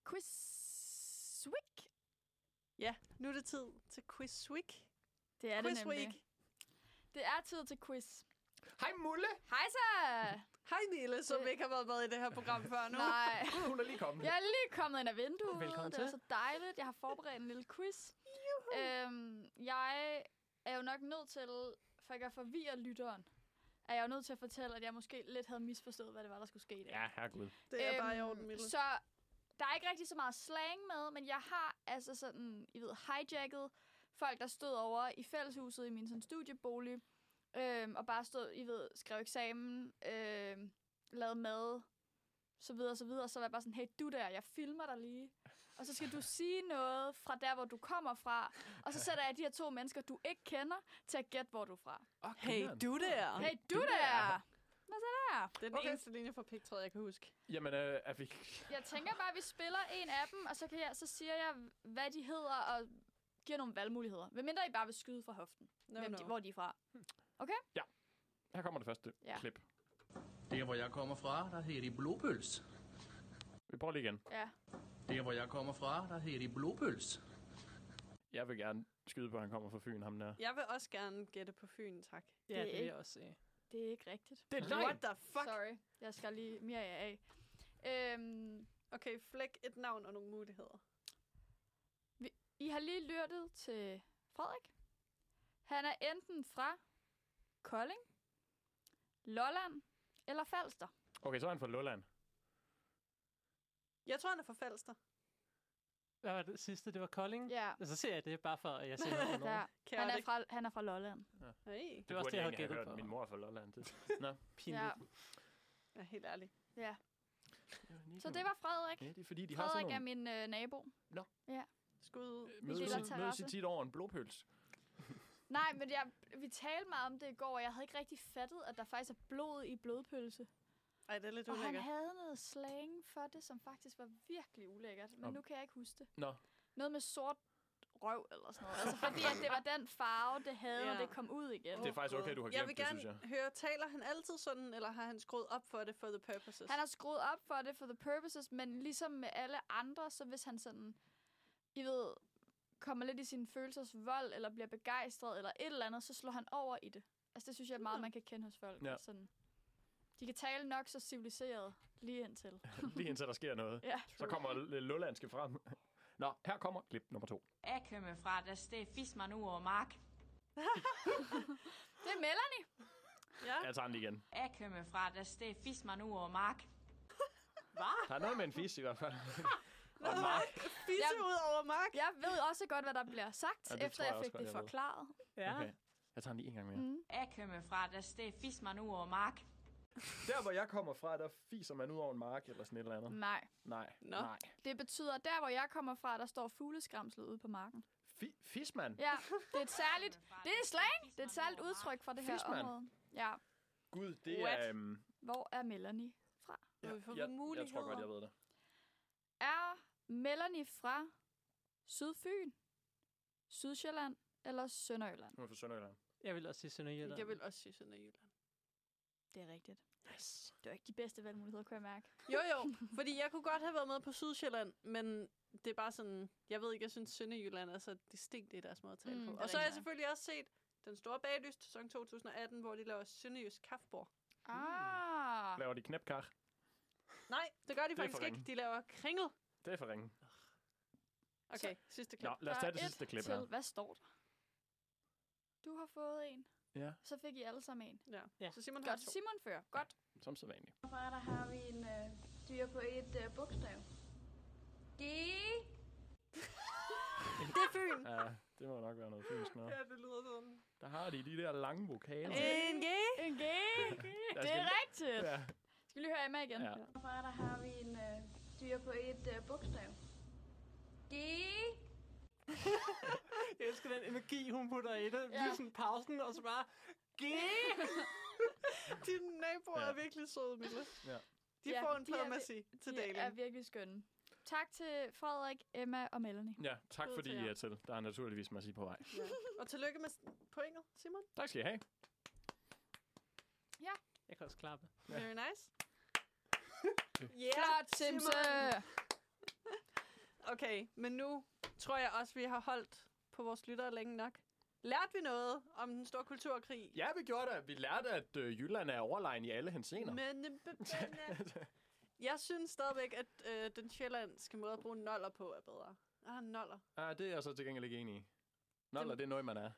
Speaker 4: Quiz... Week.
Speaker 3: Nu er det tid til Quiz Week.
Speaker 4: Det er
Speaker 3: quiz
Speaker 4: det nemlig.
Speaker 3: Week.
Speaker 4: Det er tid til quiz.
Speaker 6: Hej Mulle!
Speaker 4: Hej så!
Speaker 3: Hej Mille, som
Speaker 4: Det-
Speaker 3: ikke har været med i det her
Speaker 4: [LAUGHS]
Speaker 3: program før nu.
Speaker 4: Nej.
Speaker 6: Gud, hun er lige kommet.
Speaker 4: Jeg er lige kommet ind ad vinduet.
Speaker 7: Velkommen
Speaker 4: det er
Speaker 7: til.
Speaker 4: så dejligt. Jeg har forberedt en lille quiz. Øhm, jeg er jo nok nødt til for ikke at forvirre lytteren, er jeg jo nødt til at fortælle, at jeg måske lidt havde misforstået, hvad det var, der skulle ske i dag.
Speaker 6: Ja, herregud.
Speaker 3: Det er bare i orden, Mille.
Speaker 4: Øhm, Så der er ikke rigtig så meget slang med, men jeg har altså sådan, I ved, hijacket folk, der stod over i fælleshuset i min sådan, studiebolig, øhm, og bare stod, I ved, skrev eksamen, øhm, lavede mad, så videre, så videre. Så var jeg bare sådan, hey, du der, jeg filmer dig lige. Og så skal du sige noget fra der, hvor du kommer fra. Og så sætter jeg de her to mennesker, du ikke kender, til at gætte, hvor du er fra.
Speaker 6: Oh,
Speaker 3: Hey, du der!
Speaker 4: Hey, du der! Hvad så der?
Speaker 3: Det er den okay. eneste linje fra pigtråd, jeg kan huske.
Speaker 6: Jamen, øh, er vi...
Speaker 4: Jeg tænker bare, at vi spiller en af dem, og så, kan jeg, så siger jeg, hvad de hedder, og giver nogle valgmuligheder. Hvem mindre I bare vil skyde fra hoften,
Speaker 3: No,
Speaker 4: hvem
Speaker 3: no.
Speaker 4: De, hvor de er fra.
Speaker 6: Her kommer det første
Speaker 4: Ja.
Speaker 6: ja. klip.
Speaker 5: Der, hvor jeg kommer fra, der hedder de blodpøls.
Speaker 6: Vi prøver lige igen.
Speaker 4: Ja.
Speaker 5: Der, hvor jeg kommer fra, der hedder de blodpøls.
Speaker 6: Jeg vil gerne skyde på, at han kommer fra Fyn, ham der.
Speaker 3: Jeg vil også gerne gætte på Fyn, tak.
Speaker 7: Ja,
Speaker 4: Det er
Speaker 7: det vil
Speaker 4: ikke-
Speaker 7: jeg også sige.
Speaker 4: Det er ikke rigtigt.
Speaker 6: Det er
Speaker 3: What the fuck?
Speaker 4: Sorry. Jeg skal lige mere af. Øhm,
Speaker 3: Okay, flæk et navn og nogle muligheder.
Speaker 4: I har lige lyttet til Frederik. Han er enten fra Kolding, Lolland eller Falster.
Speaker 6: Okay, så er han fra Lolland.
Speaker 3: Jeg tror, han er fra Falster.
Speaker 7: Hvad var det sidste? Det var Kolding?
Speaker 4: Ja.
Speaker 7: Og så ser jeg det bare for, at jeg ser noget over
Speaker 4: Der.
Speaker 7: nogen.
Speaker 3: Kan
Speaker 4: Han,
Speaker 3: jeg
Speaker 4: er
Speaker 3: det?
Speaker 4: fra, han er fra Lolland.
Speaker 3: Hey,
Speaker 7: Det var også
Speaker 6: burde
Speaker 7: det, jeg havde
Speaker 6: egentlig have
Speaker 7: gættet
Speaker 6: hørt.
Speaker 7: på.
Speaker 6: Min mor er fra Lolland. Det.
Speaker 7: Pinligt.
Speaker 4: Ja.
Speaker 3: ja, helt ærligt.
Speaker 4: Så det var Frederik.
Speaker 6: Ja, det er fordi, de har sådan
Speaker 4: Frederik er
Speaker 6: nogle...
Speaker 4: min øh, nabo.
Speaker 3: Skud ud.
Speaker 6: Mødes,
Speaker 4: deler
Speaker 6: i- mødes i
Speaker 4: terrasse.
Speaker 6: tit over en blodpøls.
Speaker 4: Nej, men jeg, vi talte meget om det i går, og jeg havde ikke rigtig fattet, at der faktisk er blod i blodpølse.
Speaker 3: Ej, det er lidt
Speaker 4: Og han
Speaker 3: ulækkert.
Speaker 4: havde noget slang for det, som faktisk var virkelig ulækkert, men
Speaker 6: Om-
Speaker 4: nu kan jeg ikke huske det.
Speaker 6: Nå.
Speaker 4: Noget med sort røv eller sådan noget. Altså fordi, at det var den farve, det havde, ja.
Speaker 3: Ja.
Speaker 4: når det kom ud igen.
Speaker 6: Det er faktisk okay,
Speaker 3: God.
Speaker 6: du har
Speaker 3: jeg
Speaker 6: glemt
Speaker 3: vil
Speaker 6: det,
Speaker 3: gerne
Speaker 6: synes
Speaker 3: høre, taler han altid sådan, eller har han skruet op for det for the purposes?
Speaker 4: Han har skruet op for det, for the purposes, men ligesom med alle andre, så hvis han sådan, I ved, kommer lidt i sin følelsers vold, eller bliver begejstret, eller et eller andet, så slår han over i det. Altså det synes jeg er meget,
Speaker 3: Nå.
Speaker 4: man kan kende hos folk.
Speaker 6: Ja.
Speaker 4: at Sådan. De kan tale nok så civiliseret lige indtil.
Speaker 6: Lige indtil der sker noget.
Speaker 4: Ja.
Speaker 6: Så kommer l- lollandske frem. [LAUGHS] Nå, her kommer klip nummer to.
Speaker 8: Jeg kommer fra, der steg Fisman ud over mark.
Speaker 4: Det er Melanie.
Speaker 3: ja.
Speaker 6: Jeg tager den lige igen.
Speaker 8: Jeg kommer fra, der steg Fisman ud over mark.
Speaker 6: Der er noget med en fis i hvert
Speaker 3: [LAUGHS]
Speaker 6: fald.
Speaker 3: Nå, Fisse
Speaker 4: Jeg-
Speaker 3: ud over mark.
Speaker 4: Jeg ved også godt, hvad der bliver sagt,
Speaker 6: Ja,
Speaker 4: ja,
Speaker 6: det
Speaker 4: efter
Speaker 6: tror
Speaker 4: jeg,
Speaker 6: jeg også
Speaker 4: fik
Speaker 6: godt,
Speaker 4: det
Speaker 6: jeg ved.
Speaker 4: forklaret.
Speaker 7: Ja.
Speaker 6: Okay. Jeg tager den lige en gang mere.
Speaker 4: Mm.
Speaker 8: Jeg kommer fra, der steg Fisman ud over mark.
Speaker 6: Der, hvor jeg kommer fra, der fiser man ud over en mark eller sådan et eller andet.
Speaker 4: Nej.
Speaker 6: Nej.
Speaker 3: Mm. Nå.
Speaker 6: Nej.
Speaker 4: Det betyder, at der hvor jeg kommer fra, der står fugleskramslet ude på marken.
Speaker 6: Fi- fismand?
Speaker 4: Ja, det er et særligt, det er slang. Det er et særligt udtryk for det her
Speaker 6: Fismand.
Speaker 4: område. Ja.
Speaker 6: Gud, det
Speaker 3: What?
Speaker 6: er... Um,
Speaker 4: Hvor er Melanie?
Speaker 3: Må vi få
Speaker 6: jeg, jeg
Speaker 3: muligheder?
Speaker 6: tror godt, jeg ved det.
Speaker 4: Er Melanie fra Sydfyn, Sydsjælland eller Sønderjylland?
Speaker 6: Hun er fra Sønderjylland.
Speaker 7: Jeg vil også sige Sønderjylland.
Speaker 3: Jeg vil også sige Sønderjylland.
Speaker 4: Det er rigtigt. Yes. Det var ikke de bedste valgmuligheder, kunne jeg mærke.
Speaker 3: Jo, jo, fordi jeg kunne godt have været med på Sydsjælland, men det er bare sådan, jeg ved ikke, jeg synes Sønderjylland er så distinkt i deres måde at tale
Speaker 4: Mm,
Speaker 3: mm,
Speaker 4: det
Speaker 3: på.
Speaker 4: er
Speaker 3: Og så har jeg
Speaker 4: rigtigt.
Speaker 3: selvfølgelig også set den store baglyst, sæson 2018, hvor de laver Sønderjysk kaffebord.
Speaker 4: Ah,
Speaker 6: Laver de knæpkar?
Speaker 3: Nej, det gør de
Speaker 6: for
Speaker 3: faktisk ikke.
Speaker 6: ringe.
Speaker 3: De laver kringel.
Speaker 6: Det er for ringe.
Speaker 3: Okay, sidste klip.
Speaker 6: Nå, lad os
Speaker 4: der
Speaker 6: tage
Speaker 4: er
Speaker 6: det
Speaker 4: et
Speaker 6: sidste klip
Speaker 4: til.
Speaker 6: her.
Speaker 4: Hvad står der? Du har fået en.
Speaker 6: Ja.
Speaker 4: Så fik I alle sammen en.
Speaker 3: Ja.
Speaker 7: Ja.
Speaker 3: ja. Så Simon har
Speaker 4: Godt.
Speaker 3: to.
Speaker 4: Simon fører. Godt.
Speaker 6: Som så vanligt.
Speaker 9: Fra der har vi en øh, dyr på et øh, bogstav. G.
Speaker 3: Det er Fyn.
Speaker 6: Ja, det må nok være noget fynsk noget.
Speaker 3: Ja, det lyder sådan.
Speaker 6: Der har de de der lange vokaler.
Speaker 3: En G.
Speaker 4: En [LAUGHS] G.
Speaker 6: Der
Speaker 4: Det
Speaker 6: skal-
Speaker 4: er rigtigt.
Speaker 6: Ja.
Speaker 4: Skal vi lige høre Emma igen?
Speaker 6: ja.
Speaker 9: Fra der har vi en øh, dyr på et øh, bogstav. G.
Speaker 7: Jeg elsker den energi, hun putter i det.
Speaker 4: Ja.
Speaker 7: Lige sådan pausen, og så bare... G!
Speaker 3: Dine naboer
Speaker 6: Ja.
Speaker 3: er virkelig søde, Mille.
Speaker 6: Ja.
Speaker 3: De
Speaker 4: Ja,
Speaker 3: får en
Speaker 4: de er
Speaker 3: pladmassi til
Speaker 4: De er
Speaker 3: dagen.
Speaker 4: virkelig skønne. Tak til Frederik, Emma og Melanie.
Speaker 6: ja, tak
Speaker 3: Skud
Speaker 6: fordi
Speaker 3: til
Speaker 6: I
Speaker 3: jer.
Speaker 6: er til. Der er naturligvis massi på vej.
Speaker 3: Og tillykke med s- pointet, Simon.
Speaker 6: Tak skal I have.
Speaker 7: Jeg kan også klappe.
Speaker 6: Ja.
Speaker 3: Very nice. Yeah,
Speaker 4: Klart, Simse!
Speaker 3: Okay, men nu tror jeg også, vi har holdt på vores lyttere længe nok. Lærte vi noget om den store kulturkrig?
Speaker 6: Ja, vi gjorde det. Vi lærte, at øh, Jylland er overlegen i alle hensener. [LAUGHS]
Speaker 3: Men, øh, b- men, øh, jeg synes stadigvæk, at øh, den sjællandske måde at bruge noller på er bedre. Ah, noller.
Speaker 6: Ah, det er jeg så til gengæld ikke enig i. Noller,
Speaker 3: Dem-
Speaker 6: det er noget, man er.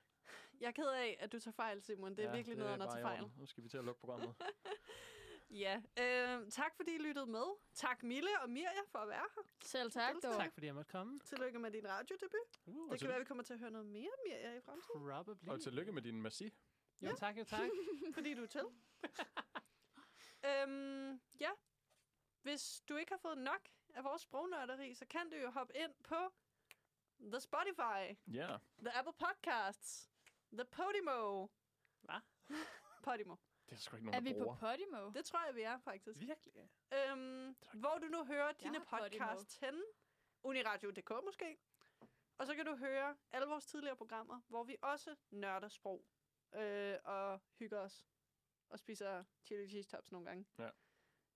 Speaker 3: Jeg er ked af, at du tager fejl, Simon. Det er ja, virkelig
Speaker 6: det
Speaker 3: noget, at
Speaker 6: bare
Speaker 3: tage
Speaker 6: i
Speaker 3: fejl.
Speaker 6: orden. Nu skal vi til at lukke programmet.
Speaker 3: Ja, øh, tak fordi I lyttede med. Tak Mille og Mirja for at være her.
Speaker 4: Selv tak, dog.
Speaker 7: Tak fordi jeg måtte komme.
Speaker 3: Tillykke med din radiodebut.
Speaker 6: Uh, og,
Speaker 3: Det kan
Speaker 6: til,
Speaker 3: være, at vi kommer til at høre noget mere Mirja i fremtiden,
Speaker 7: Probably.
Speaker 6: og tillykke med din massi.
Speaker 7: Jo, tak, jo, tak.
Speaker 3: fordi du er til. [LAUGHS] øhm, ja, hvis du ikke har fået nok af vores sprognørderi, så kan du jo hoppe ind på The Spotify,
Speaker 6: Ja.
Speaker 3: The Apple Podcasts, The Podimo.
Speaker 7: Hva?
Speaker 3: Podimo.
Speaker 6: Det er sgu ikke
Speaker 4: Er
Speaker 6: nogen,
Speaker 4: vi
Speaker 6: der
Speaker 4: på
Speaker 6: bruger.
Speaker 4: Podimo?
Speaker 3: Det tror jeg, vi er faktisk.
Speaker 7: Virkelig? ja.
Speaker 3: Øhm, hvor du nu hører dine
Speaker 4: har Podimo.
Speaker 3: podcasts henne. Uniradio.dk måske. Og så kan du høre alle vores tidligere programmer, hvor vi også nørder sprog. Øh, og hygger os. Og spiser chili cheese tops nogle gange.
Speaker 6: Ja.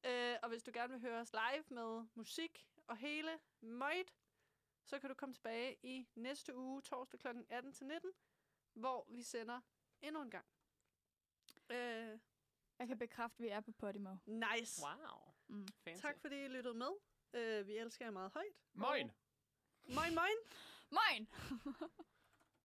Speaker 3: Øh, og hvis du gerne vil høre os live med musik og hele møjt, så kan du komme tilbage i næste uge, torsdag kl. 18-19, hvor vi sender endnu en gang. Øh,
Speaker 4: Jeg kan bekræfte, at vi er på Podimo.
Speaker 3: nice.
Speaker 7: Wow.
Speaker 4: Mm.
Speaker 7: Fancy.
Speaker 3: Tak fordi I lyttede med. Øh, vi elsker jer meget højt.
Speaker 6: Moin!
Speaker 3: Moin, moin!
Speaker 4: Moin!